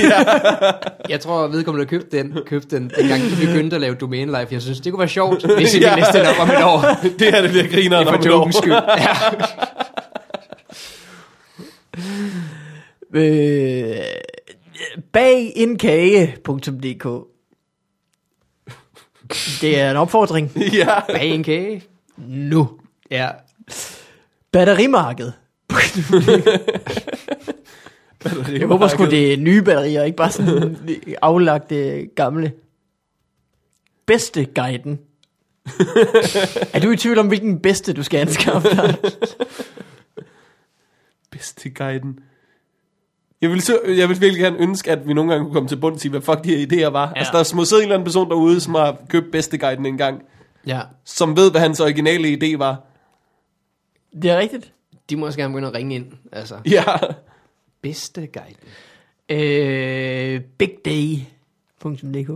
A: Jeg tror, at vedkommende der købte den, købte den, dengang de begyndte at lave Domain Life. Jeg synes, det kunne være sjovt, hvis I
C: Ja.
A: ja. læste den op om et år.
C: Det her, det bliver grineren
A: For
C: om et år.
A: jogens skyld. Ja.
B: Øh, bagindkage.dk Det er en opfordring.
C: Ja.
A: Bag en kage.
B: Nu.
A: Ja.
B: Batterimarked. Jeg håber sgu, det er nye batterier, ikke bare sådan aflagte gamle. Bedste guiden. er du i tvivl om, hvilken bedste du skal anskaffe dig?
C: Bedste guiden. Jeg vil, så, jeg vil virkelig gerne ønske, at vi nogle gange kunne komme til bunds i, hvad fuck de her idéer var. Ja. Altså, der må sidde en eller anden person derude, som har købt bedste guiden engang,
A: Ja.
C: som ved, hvad hans originale idé var.
B: Det er rigtigt.
A: De må også gerne begynde at ringe ind. Altså,
C: Ja.
A: bedste guide.
B: Øh, bigday.dk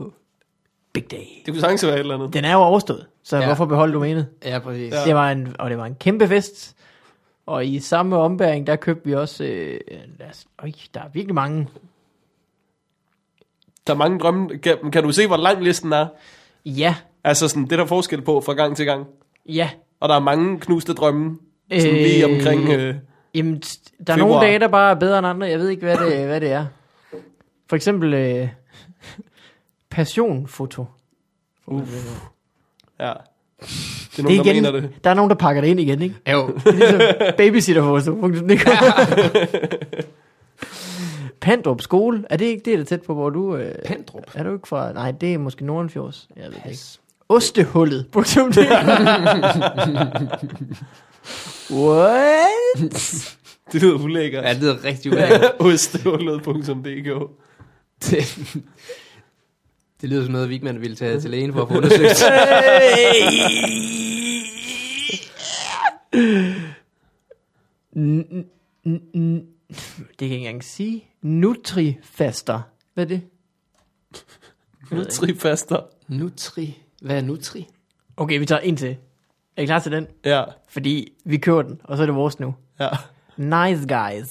B: Big Day.
C: Det kunne sagtens være et eller andet.
B: Den er jo overstået, så ja.
A: Ja.
B: hvorfor beholde domænet?
A: Ja, præcis.
B: Ja. Det var en, og det var en kæmpe fest. Og i samme ombæring, der købte vi også... Øh, lad os, øj, der er virkelig mange.
C: Der er mange drømme. Kan, kan du se, hvor lang listen er?
B: Ja,
C: Altså, sådan, det er der forskel på fra gang til gang.
B: ja.
C: Og der er mange knuste drømme, sådan øh... lige
B: Øh.
C: omkring... Øh,
B: Jamen, t- der er
C: Februar.
B: nogle dage, der bare er bedre end andre. Jeg ved ikke, hvad det, hvad det er. For eksempel øh, passionfoto.
C: ja. Det er nogen, det
B: igen,
C: der mener det.
B: Der er nogen, der pakker det ind igen, ikke?
A: Jo.
B: Babysitterfoto. Pandrup skole. Er det ikke det, der er tæt på, hvor du... Øh,
A: Pandrup.
B: er du ikke fra... Nej, det er måske Nordenfjords. Jeg ved det ikke. Ostehullet. Punktum dk. What?
C: Det lyder ulækkert.
A: Ja, det er rigtig ulækkert.
C: Ostehullet.dk
A: Det lyder som noget, Vigman ville tage til lægen for at få undersøgt.
B: Det kan jeg ikke engang sige. Nutrifaster. Hvad er det?
C: Nu trifaster.
A: Nutri. Hvad er Nutri?
B: Okay, vi tager en til. Er I klar til den?
C: Ja,
B: Fordi vi kører den, og så er det vores nu.
C: ja.
B: Nice guys.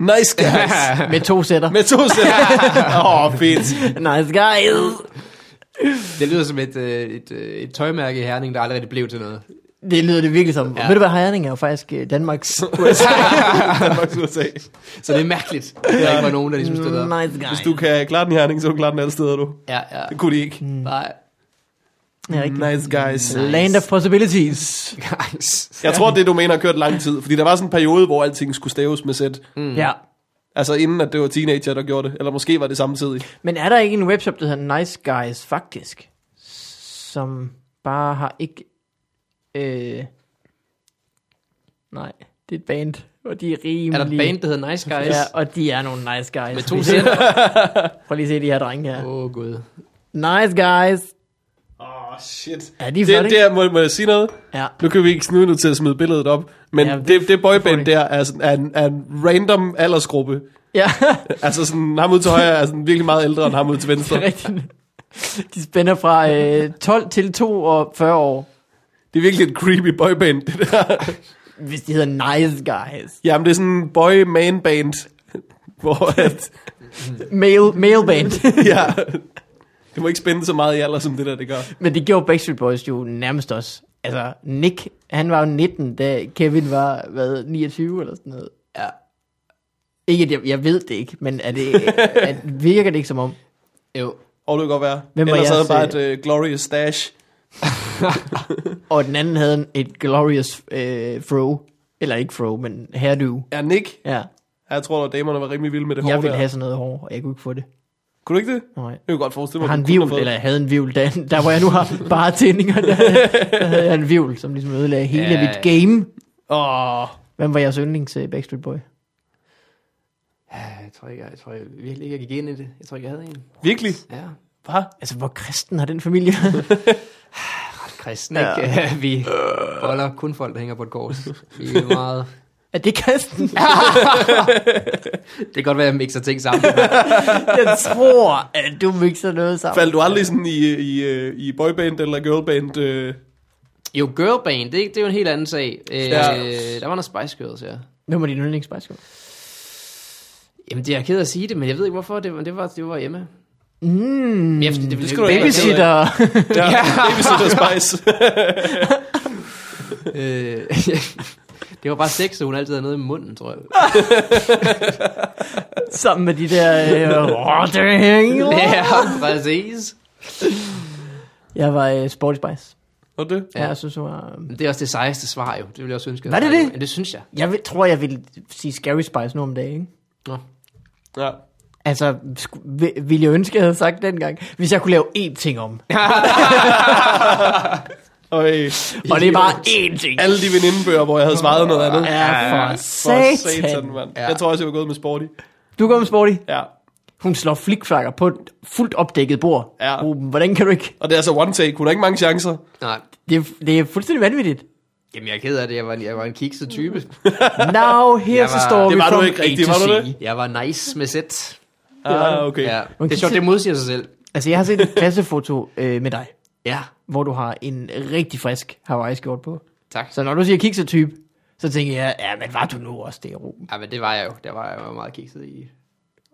C: Nice guys.
B: Med to sætter.
C: Med to sæt. Åh, oh, fedt.
B: nice guys.
A: Det lyder som et, øh, et, øh, et tøjmærke i Herning, der aldrig blev til noget.
B: Det lyder det virkelig som. Ja. Ved du hvad, Herning er jo faktisk øh, Danmarks
C: Danmarks USA.
A: Så det er mærkeligt, at der ikke var nogen, der ligesom stillede op.
B: mm, nice guy.
C: Hvis du kan klare den i Herning, så kan du klare den alle steder, du.
A: Ja, ja.
C: Det kunne de ikke.
A: Nej.
B: Ja, rigtig.
C: Nice guys.
B: Land of possibilities.
A: Guys.
C: Jeg tror, det du mener har kørt lang tid. Fordi der var sådan en periode, hvor alting skulle staves med sæt.
B: Mm. Ja.
C: Altså inden, at det var teenager, der gjorde det. Eller måske var det samtidig.
B: Men er der ikke en webshop, der hedder Nice Guys faktisk? Som bare har ikke... Øh... Nej, det er et band. Og de er rimelig...
A: Er der et band, der hedder Nice Guys?
B: Ja, og de er nogle nice guys.
A: Med to sætter?
B: Prøv lige at se de her drenge her.
A: Åh, oh, gud.
B: Nice guys.
C: Åh, oh, shit.
B: Ja, de er
C: Det,
B: flotte,
C: det
B: ikke?
C: er, må, må jeg sige noget?
B: Ja.
C: Nu kan vi ikke snyde nu til at smide billedet op. Men
B: Ja,
C: ja,
B: det-
C: det, det, det
B: får det.
C: boyband der er, sådan, er, en, er en random aldersgruppe.
B: Ja,
C: Altså sådan, ham ud til højre er sådan virkelig meget ældre end ham ud til venstre.
B: det er rigtigt. De spænder fra øh, 12 til 42 år.
C: Det er virkelig et creepy boyband, det der.
B: Hvis de hedder nice guys.
C: Jamen, det er sådan en boy-man-band, hvor at,
B: Male, male band.
C: ja, det må ikke spænde så meget i alder, som det der, det gør.
B: Men det gjorde Backstreet Boys jo nærmest også. Altså, Nick, han var jo 19, da Kevin var, hvad, 29 eller sådan noget. Ja. Ikke, at jeg, jeg ved det ikke, men er det, er, virker det ikke som om?
A: Jo.
C: Og det kan godt være.
B: Hvem
C: Hvem
B: var
C: Ellers havde
B: jeres,
C: bare et øh, glorious stash.
B: Og den anden havde en- et glorious øh, fro. Eller ikke fro, men hairdo.
C: Ja, Nick.
B: Ja,
C: Ja, jeg tror, at damerne var rimelig vilde med det hår
B: jeg ville
C: der.
B: have sådan noget hår, og jeg kunne ikke få det.
C: Kunne du ikke det?
B: Nej.
C: Jeg kan godt forestille mig,
B: Jeg har
C: at
B: en
C: du kunne have
B: vivl,
C: fået-
B: eller jeg havde en vivl, der, der hvor jeg nu har bare tændinger, der, der havde jeg en vivl, som ligesom ødelagde hele
A: Ja.
B: mit game.
C: Åh,
B: Hvem var jeres yndlings øh, Backstreet Boy?
A: Ja, Jeg tror, ikke, jeg, jeg tror jeg virkelig ikke, jeg gik ind i det. Jeg tror ikke, jeg havde en.
C: virkelig?
A: Ja.
C: Hvad?
B: Altså, hvor kristen har den familie?
A: Kristen, ja. Øh. ikke? Vi holder kun folk, der hænger på et kors. Vi er meget...
B: er det kristen?
A: Det kan godt være, at jeg mixer ting sammen.
B: jeg tror, at du mixer noget sammen.
C: Faldt du aldrig sådan i, i, øh, i boyband eller girlband? Øh?
A: Jo, girlband, det, det er jo en helt anden sag. Øh,
C: Ja.
A: Der var noget Spice Girls, ja.
B: Hvem var din yndlings Spice Girl?
A: Jamen, det er jeg ked af at sige det, men jeg ved ikke, hvorfor. Det, var- det var, det var Emma.
B: Mm,
A: Men efter, det, ville
C: det
A: det
C: skal du ikke
B: babysitter.
C: Ja, Babysitter Spice.
A: Øh, det var bare sex, så hun altid havde noget i munden, tror jeg.
B: sammen med de der... Øh, rotter.
A: Ja, præcis.
B: jeg var øh, Sporty Spice.
C: Og det?
B: Ja. Jeg synes, hun var...
A: Men Det er også det sejeste svar, jo. Det ville jeg også ønske.
B: Var det det?
A: Ja, det synes jeg.
B: Jeg vil, tror, jeg vil sige Scary Spice nu om dagen, ikke?
A: Nå.
C: Ja.
B: Altså, sku, vil, ville jeg ønske, jeg havde sagt dengang, hvis jeg kunne lave én ting om.
C: Og øh,
B: Og det er bare én ting.
C: alle de venindebøger, hvor jeg havde svaret noget andet.
B: Ja, for
C: For
B: satan.
C: mand. Ja. Jeg tror også, jeg var gået med sporty.
B: Du går med Sporty.
C: Ja.
B: Hun slår flikflakker på et fuldt opdækket bord.
C: Ja.
B: Ruben, hvordan kan du ikke?
C: Og det er altså one take. Hun har ikke mange chancer.
A: Nej.
B: Det er, det er fuldstændig vanvittigt.
A: Jamen, jeg er ked af det. Jeg var, jeg var en kikset type.
B: Now, here
A: Jeg
B: så
A: var-
B: står vi
C: Det var du
B: from
C: ikke
B: A
C: rigtig,
B: to
C: var du
B: Z.
C: det?
A: Jeg var nice med sæt.
C: Ah, okay.
A: Ja.
C: Ja.
A: Det er sjovt, det modsiger sig selv.
B: Altså, jeg har set et klassefoto øh, med dig,
A: Ja,
B: hvor du har en rigtig frisk Hawaii-skjort på.
A: tak.
B: Så når du siger kiksetype, så tænker jeg, ja, men var du nu også det, Ruben?
A: Ja, men det var jeg jo. Der var jeg jo meget kikset i.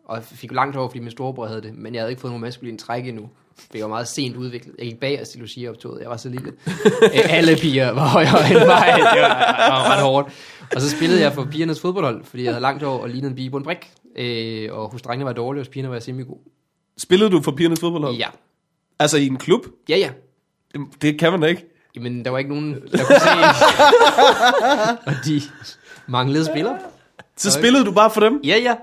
A: Og jeg fik langt over, fordi min storebror havde det. Men jeg havde ikke fået nogen maskulin træk endnu. For jeg var meget sent udviklet. Jeg gik bagerst i Lucia-optoget. Jeg var så lille. Æ, alle piger var højere end mig. Det var, var ret hårdt. Og så spillede jeg for pigernes fodboldhold, fordi jeg havde langt over og lignede en pige på en brik. Æ, og hos drengene var jeg dårlig, og hos pigerne var jeg semigod.
C: Spillede du for pigernes fodboldhold?
A: Ja.
C: Altså i en klub?
A: Ja, ja.
C: Det, det kan man da ikke.
A: Jamen, der var ikke nogen, der kunne se. og de manglede spillere.
C: Så spillede du bare for dem?
A: Ja, ja.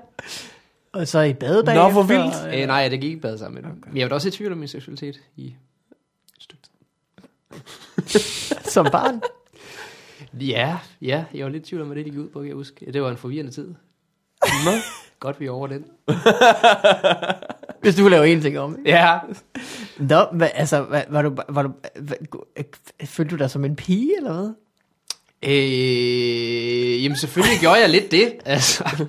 B: Og så i badedag.
C: Nå, hvor vildt.
A: Øh, nej, det gik ikke bedre sammen med dem. Men jeg var da også i tvivl om min seksualitet i
B: øh, Som barn.
A: Ja, ja, jeg var lidt i tvivl om, hvad det gik ud på, kan jeg huske. Det var en forvirrende tid.
C: Nå.
A: Godt, vi er over den.
B: Hvis du kunne lave én ting om.
A: Ja.
B: Nå, hvad, altså, hvad, var du, var du, hvad, gu- følte du dig som en pige, eller hvad?
A: Øh, jamen selvfølgelig gjorde jeg lidt det. Altså,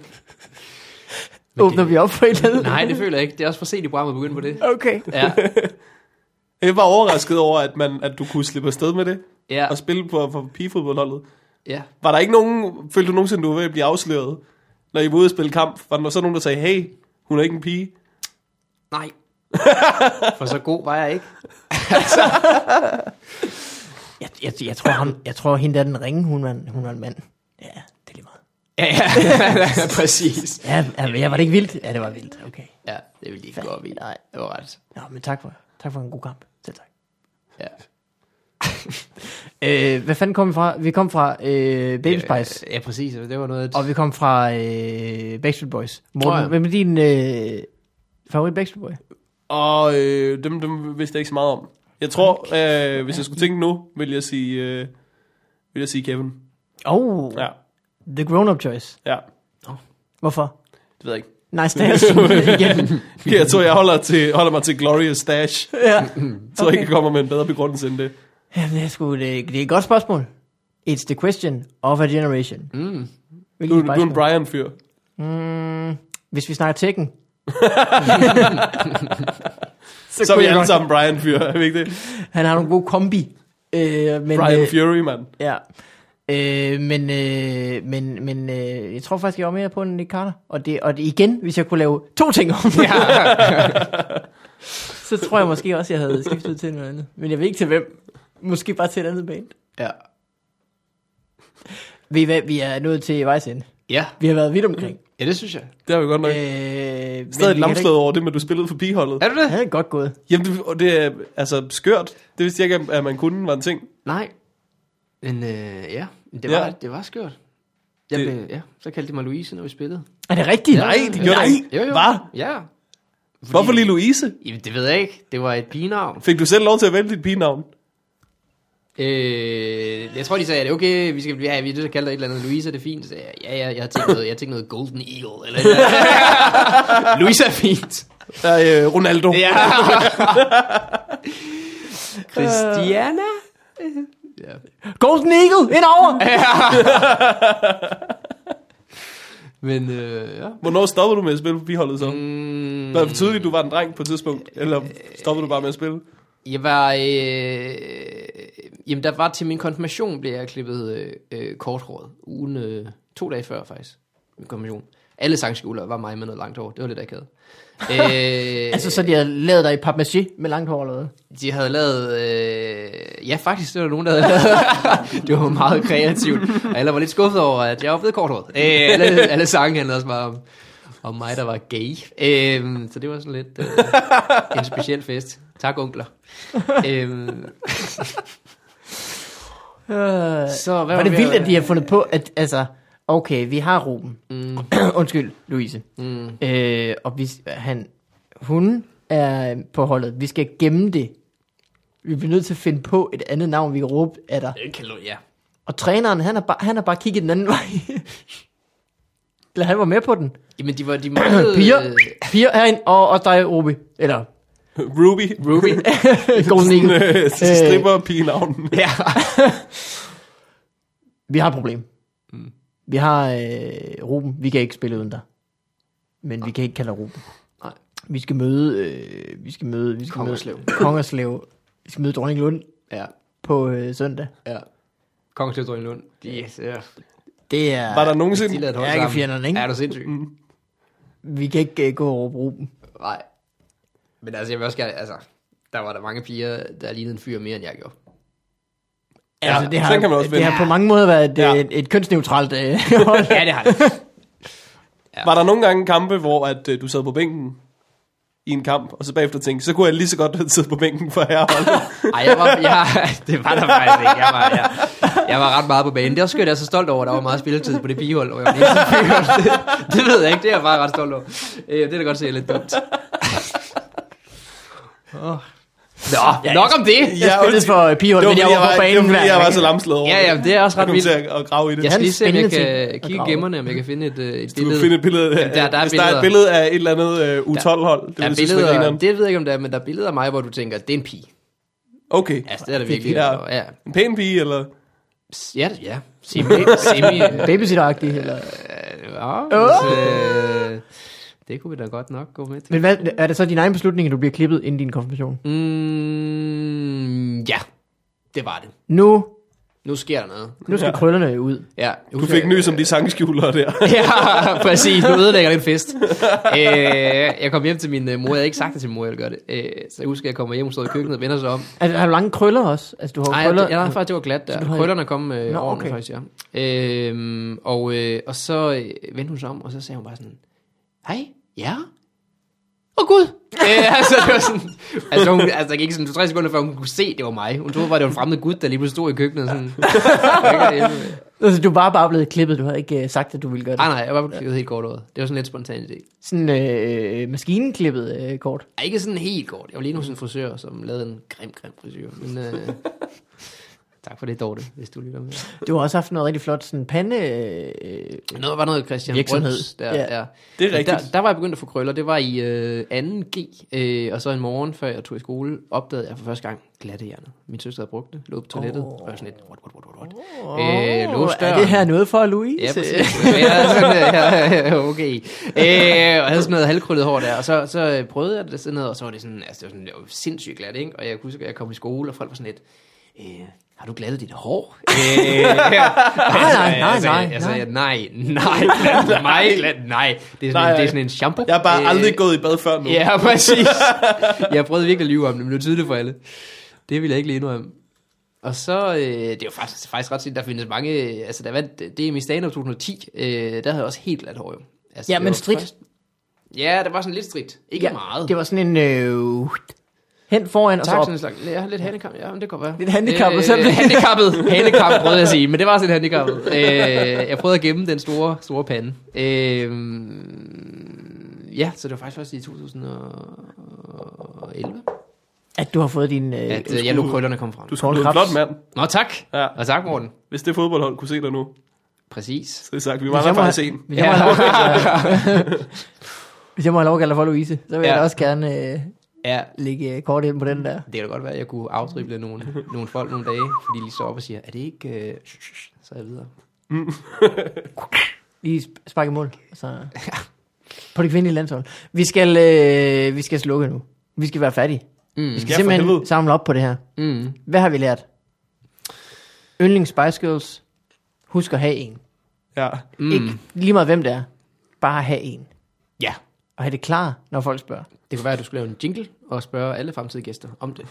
B: Åbner vi op for et eller andet?
A: nej, det føler jeg ikke. Det er også for sent i programmet at begynde på det.
B: Okay.
A: Ja,
C: Jeg var overrasket over, at, man, at du kunne slippe afsted med det.
A: ja,
C: Og spille på, på pigefodboldholdet.
A: ja.
C: Var der ikke nogen, følte du nogensinde, du var ved at blive afsløret, når I var ude at spille kamp? Var der så nogen, der sagde, hey, hun er ikke en pige?
A: Nej. For så god var jeg ikke.
B: Jeg, jeg, jeg, tror, han, jeg tror, hende der den ringe, hun var, en- hun var en mand. Ja, det er lige meget.
A: Ja, ja. præcis.
B: Ja, ja, ja, var det ikke vildt? Ja, det var vildt. Okay.
A: Ja, det vil de ikke gå op i.
B: Nej.
A: det var ret.
B: Nå, men tak for, tak for en god kamp. Selv tak.
A: Ja.
B: Øh, hvad fanden kom vi fra? Vi kom fra øh, Baby Spice.
A: Ja, præcis. Det var noget... At...
B: Og vi kom fra øh, Backstreet Boys. Morten,
A: Tror jeg.
B: hvem er din øh, favorit Backstreet Boy?
C: Og øh, dem, dem vidste jeg ikke så meget om. Jeg tror, øh, hvis jeg skulle tænke nu, vil jeg sige, øh, vil jeg sige Kevin.
B: Oh,
C: Ja,
B: The Grown-Up Choice.
C: ja.
B: Hvorfor?
C: Det ved jeg ikke.
B: Nice dance. Igen.
C: Jeg tror, jeg holder, til, holder mig til Glorious Dash. Jeg
B: ja.
C: tror okay. ikke, jeg kommer med en bedre begrundelse end det.
B: Jamen, det er, sgu, det, det er et godt spørgsmål. It's the question of a generation. Mm.
C: Du, du er en Brian-fyr.
B: Hvis vi snakker Tekken, så,
C: Så er
B: kunne
C: vi
B: jeg
C: alle
B: godt-
C: sammen Brian-fyr, er vi ikke det?
B: Han har nogle gode kombi. Øh, men,
C: Brian
B: øh,
C: Fury, mand.
B: ja. Øh, men øh, men, men øh, jeg tror faktisk, jeg var mere på den Nick Carter. Og det, og det igen, hvis jeg kunne lave to ting om det, så tror jeg måske også, jeg havde skiftet til noget andet. Men jeg ved ikke til hvem. Måske bare til et andet band.
A: ja.
B: Ved I hvad, vi er nået til vejs ende.
A: Ja.
B: Vi har været vidt omkring.
A: ja, det synes jeg.
C: Det har vi godt nok.
B: Øh, men vi
C: Stadig
B: kan
C: lamslået over det, men du spillede for pigeholdet.
A: Er du
B: da ikke-
A: det?
B: Ja, det er godt gået.
C: Jamen, det, og det er altså skørt. Det vidste jeg ikke, at man kunne, var en ting.
A: Nej. Men øh, ja, det var,
C: Ja.
A: ja. det var skørt. Jeg
C: Det-
A: blev, ja, så kaldte de mig Louise, når vi spillede.
B: Er det rigtigt?
A: Nej,
C: det gjorde
B: Nej.
C: jeg ikke.
A: Jo, jo.
C: Hvad?
A: Ja.
C: Hvorfor lige Louise?
A: Jamen, det ved jeg ikke. Det var et pigenavn.
C: Fik du selv lov til at vælge dit pigenavn?
A: Øh, jeg tror, de sagde, at okay, vi skal blive ja, vi er nødt til at kalde dig et eller andet. Louise, er det fint? Så sagde jeg, ja, ja, jeg har tænkt noget, jeg har tænkt noget Golden Eagle. Eller et eller andet. Louise er fint.
C: Nej, øh, Ronaldo.
A: Ja. Christiana? ja.
B: Golden Eagle, ind over!
A: Men øh, ja.
C: Hvornår stoppede du med at spille på pigeholdet så?
A: Mm,
C: Var det tydeligt, du var en dreng på et tidspunkt? Eller stoppede du bare med at spille?
A: jeg var... Øh, jamen, der var til min konfirmation, blev jeg klippet øh, øh, korthåret. Ugen øh, to dage før, faktisk. Min konfirmation. Alle sangskoler var mig med noget langt hår. Det var lidt akavet. øh,
B: altså, så de har lavet dig i papmaché med langt hår eller hvad?
A: De havde lavet... Øh... Ja, faktisk, det var der nogen, der havde lavet... det var meget kreativt. Og alle var lidt skuffet over, at jeg var blevet korthåret. Øh, alle, alle sange handlede også bare om, om mig, der var gay. Øh, så det var sådan lidt øh, en speciel fest. Tak, onkler. Øh,
B: Øh,
A: så hvad
B: var det
A: vi
B: vildt,
A: ved-
B: at de har fundet på, at altså, okay, vi har Ruben. Mm. Undskyld, Louise. Mm. Øh, og vi, han, hun er på holdet. Vi skal gemme det. Vi bliver nødt til at finde på et andet navn, vi kan råbe af dig.
A: Øh, Kalo, ja.
B: Og træneren, han har bare, han har bare kigget den anden vej. Eller han var med på den.
A: Jamen, de var... De manglede, øh,
B: Piger, piger herinde, og, og dig, Ruby. Eller
C: Ruby.
A: Ruby.
B: Golden Eagle.
C: Øh, Stripper pigenavnen.
A: ja.
B: Vi har et problem. Mm. Vi har øh, Ruben. Vi kan ikke spille uden dig. Men vi kan ikke kalde dig Ruben.
A: Nej.
B: Vi skal møde... Øh, vi skal møde... Vi skal
A: Kongerslev.
B: Møde, Kongerslev. Vi skal møde Dronning Lund
A: ja.
B: på øh, søndag.
A: Ja. Kongens Dronning Lund. øh, Yes, ja.
B: Det er...
C: Var der
A: De
C: nogensinde...
A: lavede et hold
B: Ja, ikke
A: sammen.
B: fjenderne, ikke? Mm.
A: Er du sindssyg?
B: Vi kan ikke øh, gå og råbe Ruben.
A: Nej. Men altså, jeg vil også gerne, altså, der var der mange piger, der lignede en fyr mere, end jeg gjorde.
B: Ja, altså, det har,
C: sådan kan man også
B: det
C: vende.
B: har på mange måder været et,
C: Ja.
B: ja. et, et kønsneutralt øh, hold.
A: Ja, det har det.
C: Var der nogle gange kampe, hvor at, øh, du sad på bænken i en kamp, og så bagefter tænkte, så kunne jeg lige så godt have siddet på bænken for herreholdet.
A: Ej, jeg var, jeg, det var der faktisk ikke. Jeg var, jeg, jeg var ret meget på banen. Det er også skønt, jeg er så stolt over, at der var meget spilletid på det pigehold, hvor jeg var den eneste fyr. Det, det ved jeg ikke, det er jeg bare ret stolt over. Øh, det er da godt se, jeg er lidt dumt. Nå, nok om det.
B: Jeg spillede
C: undskyld.
B: for pighold,
C: Det var
B: men jeg
C: fordi,
B: var på
C: det
B: banen
C: fordi,
B: hver
C: jeg
B: gang.
C: var så lamslået over
A: Ja, ja, det er også ret
C: Jeg kom til
A: vildt.
C: at, at grave i det.
A: Jeg
C: Ja.
A: skal lige se, om jeg
B: Spændende ting
A: kan
B: at
A: kigge i
B: grave.
A: gemmerne, om jeg kan finde et, øh, et
C: Du
A: billede.
C: kan finde et billede.
A: Jamen, der- der er
C: hvis der er
A: billeder.
C: et billede af et eller andet uh, U12-hold. Det
A: der er
C: vil jeg synes, var
A: billeder,
C: grineren.
A: det ved jeg ikke, om der er, men der er billeder af mig, hvor du tænker, det er en pige.
C: Okay.
A: Altså, det er det virkelig.
C: Ja.
A: Og, ja.
C: En pæn pige, eller?
A: Ja, det- ja. Semi, semi, øh,
B: Babysitter-agtig. Eller?
A: ja, hvis, øh, det kunne vi da godt nok gå med til.
B: Men hvad, er det så din egen beslutning, at du bliver klippet inden din konfirmation?
A: Mm, ja, det var det.
B: Nu,
A: Nu sker der noget.
B: nu skal krøllerne jo ud.
A: Ja,
C: Du fik nys om de sangskjulere der.
A: ja, præcis. Nu ødelægger den fest. Øh, jeg kom hjem til min øh, mor. Jeg havde ikke sagt det til min mor, jeg ville gøre det. Øh, så jeg husker, jeg kommer hjem og står i køkkenet og vender sig om.
B: Altså, har du lange krøller også? Altså, du har
A: Nej,
B: Ej,
A: jeg,
B: krøller...
A: jeg, jeg, faktisk, det var glat der.
B: du har-
A: Krøllerne kom øh,
B: Nå,
A: Nå, okay.
B: okay.
A: faktisk, ja. Øhm, og, øh, og så øh, vendte hun sig om, og så sagde hun bare sådan, hej, ja, åh oh, gud. øh, altså, det var sådan, altså, hun, altså, der gik sådan tre sekunder, før hun kunne se, det var mig. Hun troede bare, det var en fremmed gut, der lige pludselig stod i køkkenet. og Sådan,
B: Altså, du var bare blevet klippet. Du havde ikke øh, sagt, at du ville gøre det.
A: Ah, nej, nej, jeg var bare blevet helt kort over. Det var sådan lidt spontan idé.
B: Sådan øh, maskinenklippet øh, kort.
A: Ej, ikke sådan helt kort. Jeg var lige nu sådan en frisør, som lavede en grim, grim frisyr. Men øh, tak for det, Dorte, hvis du lytter med.
B: Du har også haft noget rigtig flot sådan pande... Øh,
A: Noget var noget Christian
B: Virksomhed.
A: Brøns. Der,
B: Ja.
A: ja.
C: Det er
A: Men Der,
C: rigtigt.
A: der var jeg begyndt at få krøller. Det var i øh, 2G, øh, og så en morgen, før jeg tog i skole, opdagede jeg for første gang glattehjernet. Min søster havde brugt det, lå på toilettet, oh. og jeg var sådan lidt, what, what, what, what, what. Øh, låste
B: er
A: døren.
B: det her noget for Louise? Øh,
A: Ja, præcis. Men jeg havde sådan, øh, ja, okay. Øh, og jeg havde sådan noget halvkrøllet hår der, og så, så øh, prøvede jeg det sådan noget, og så var det sådan, altså det var sådan det var sindssygt glat, ikke? Og jeg kunne huske, at jeg kom i skole, og folk var sådan lidt, øh, har du glattet dit hår? Øh, nej,
B: nej, nej, nej,
A: altså, Jeg sagde, nej, nej, glat, nej, glat, nej. Det er sådan,
C: Nej,
A: nej, det
C: nej.
A: er sådan en shampoo.
C: Jeg har bare
A: Øh,
C: aldrig gået i bad før nu.
A: Ja, præcis. Jeg prøvede virkelig at lyve om det, men det var tydeligt for alle. Det ville jeg ikke lige indrømme. Og så, øh, det er jo faktisk, faktisk ret sindssygt, der findes mange, øh, altså der vandt det i min stand-up 2010, øh, der havde jeg også helt glat hår jo. Altså,
B: Ja,
A: det
B: men
A: var
B: stridt.
A: først- Ja, det var sådan lidt stridt. Ikke ja, meget.
B: Det var sådan en... Øh, hen foran, og så
A: tak,
B: op.
A: altså sådan en slags, ja, lidt handicap, ja, men det kan være. Øh,
B: Lidt handicappet, så-
A: handicappet, handicappet prøvede jeg at sige, men det var også lidt handicappet. Øh, jeg prøvede at gemme den store, store pande. Øh, ja, så det var faktisk først i 2011.
B: At du har fået din... Øh,
A: at øh, jeg lå krøllerne komme frem.
C: Du
B: Poul
C: skulle blive en
B: Krebs.
C: flot mand.
A: Nå, tak.
C: Ja.
A: Og tak, Morten.
C: Hvis det fodboldhold kunne se dig nu,
A: Præcis.
C: så er det sagt, vi mangler
B: må-
C: faktisk en.
B: Hvis jeg må have lov,
A: altså.
B: hvis jeg må have lov at kalde dig for Louise, så vil ja. jeg
A: Ja.
B: da også gerne øh,
A: Ja,
B: lægge øh, kort ind på den der.
A: det kan da godt være, at jeg kunne afdrible nogle, nogle folk nogle dage, fordi de lige står op og siger, er det ikke... Øh, sh- sh- sh?" så er jeg videre.
B: Lige sp- sparke i mål. og Så. På det kvindelige landshold. Vi skal, øh, vi skal slukke nu. Vi skal være færdige.
A: Mm.
B: Vi
C: Ja,
B: skal
C: for
B: simpelthen
C: helvede.
B: samle op på det her.
A: Mm.
B: Hvad har vi lært? Yndlings Spice Girls. Husk at have en.
C: Ja.
B: Mm. Ikke lige meget hvem det er. Bare have en.
A: Ja.
B: Og have det klar, når folk spørger.
A: Det kunne være, at du skulle lave en jingle og spørge alle fremtidige gæster om det.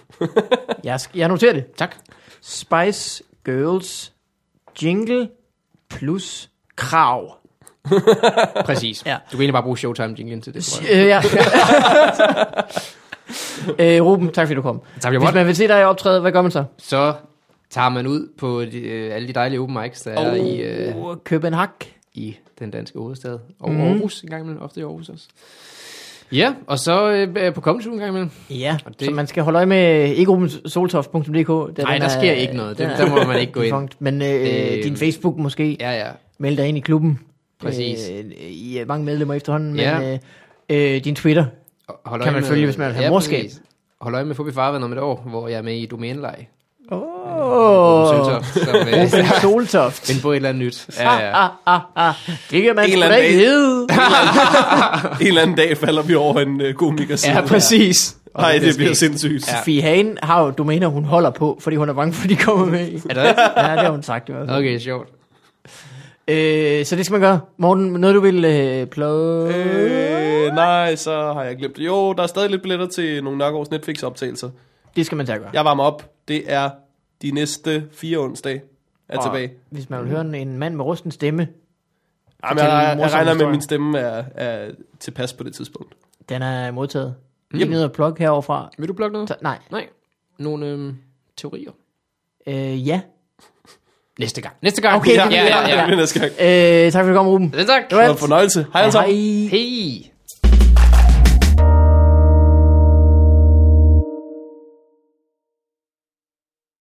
B: Jeg, sk- jeg noterer det.
A: Tak.
B: Spice Girls jingle plus krav.
A: Præcis.
B: Ja.
A: Du kan egentlig bare bruge Showtime-jinglen til det, tror jeg.
B: Øh, ja. øh, Ruben, tak fordi du kom.
A: Tak, jeg
B: Hvis
A: måtte.
B: man vil se dig optræde, hvad gør man så?
A: Så tager man ud på de, øh, alle de dejlige open mics, der er i, øh,
B: Uh, København.
A: i den danske hovedstad. Og mm. Aarhus en gang imellem. Ofte i Aarhus også. Ja, og så øh, på Comedy Zoo en gang imellem.
B: Ja,
A: Og
B: det...
A: det-
B: så man skal holde øje med ikke rubensoltoft.dk.
A: Nej, der sker ikke noget. Den- der må man ikke gå ind.
B: Men øh,
A: Øh,
B: din Facebook måske. Ja.
A: Ja, ja.
B: Meld dig ind i klubben.
A: Præcis.
B: Øh, I er mange medlemmer efterhånden, men
A: Ja.
B: ja. øh, øh, din Twitter.
A: Og Hold
B: Kan
A: øje
B: man følge, hvis man vil have morskab.
A: præcis. Hold øje med Fubi Farvand om et år, hvor jeg er med i domæneleje.
B: Åh, oh,
A: Som, øh,
B: Soltoft.
A: finde på et eller andet nyt. Ja, ja.
B: Ah, ah, ah. Det kan man
C: En
B: sgu
C: eller
B: da
C: anden
B: ikke
C: dag.
B: vide.
C: En eller anden dag falder vi over en uh, komiker.
A: ja præcis.
C: Nej, det bliver
A: sindssygt.
C: sindssygt. Ja.
B: Sofie Hagen har jo domæner, hun holder på, fordi hun er bange for, at de kommer med. i.
A: Er det rigtigt?
B: ja, det har hun sagt i hvert fald.
A: Okay, sjovt.
B: Øh, så det skal man gøre. Morten, noget du vil øh, pløje?
C: Øh, nej, så har jeg glemt det. Jo, der er stadig lidt billetter til nogle Nørgaards Netflix-optagelser.
B: Det skal man tage gøre.
C: Jeg varmer op. Det er de næste fire onsdag er
B: Og
C: tilbage.
B: Hvis man vil høre en, en mand med rusten stemme,
C: Jamen,
B: fortæl
C: jeg,
B: en
C: jeg, jeg
B: morsom
C: regner med,
B: historie.
C: at min stemme er, er tilpas på det tidspunkt.
B: den er modtaget. Mm. Ikke noget at plukke heroverfra.
A: Vil du blokke noget?
B: Så, nej.
A: Nej. Nogle øhm, teorier.
B: Øh, ja.
A: Næste gang. Næste gang.
B: Okay,
A: ja,
B: det
A: ja,
B: bliver-
A: ja. ja.
C: Men jeg skal.
B: Øh, tak for at du kom, Ruben.
A: ja. Tak.
B: Det var
C: Det var en fornøjelse. Hej alle sammen.
B: Hej.
A: Hej.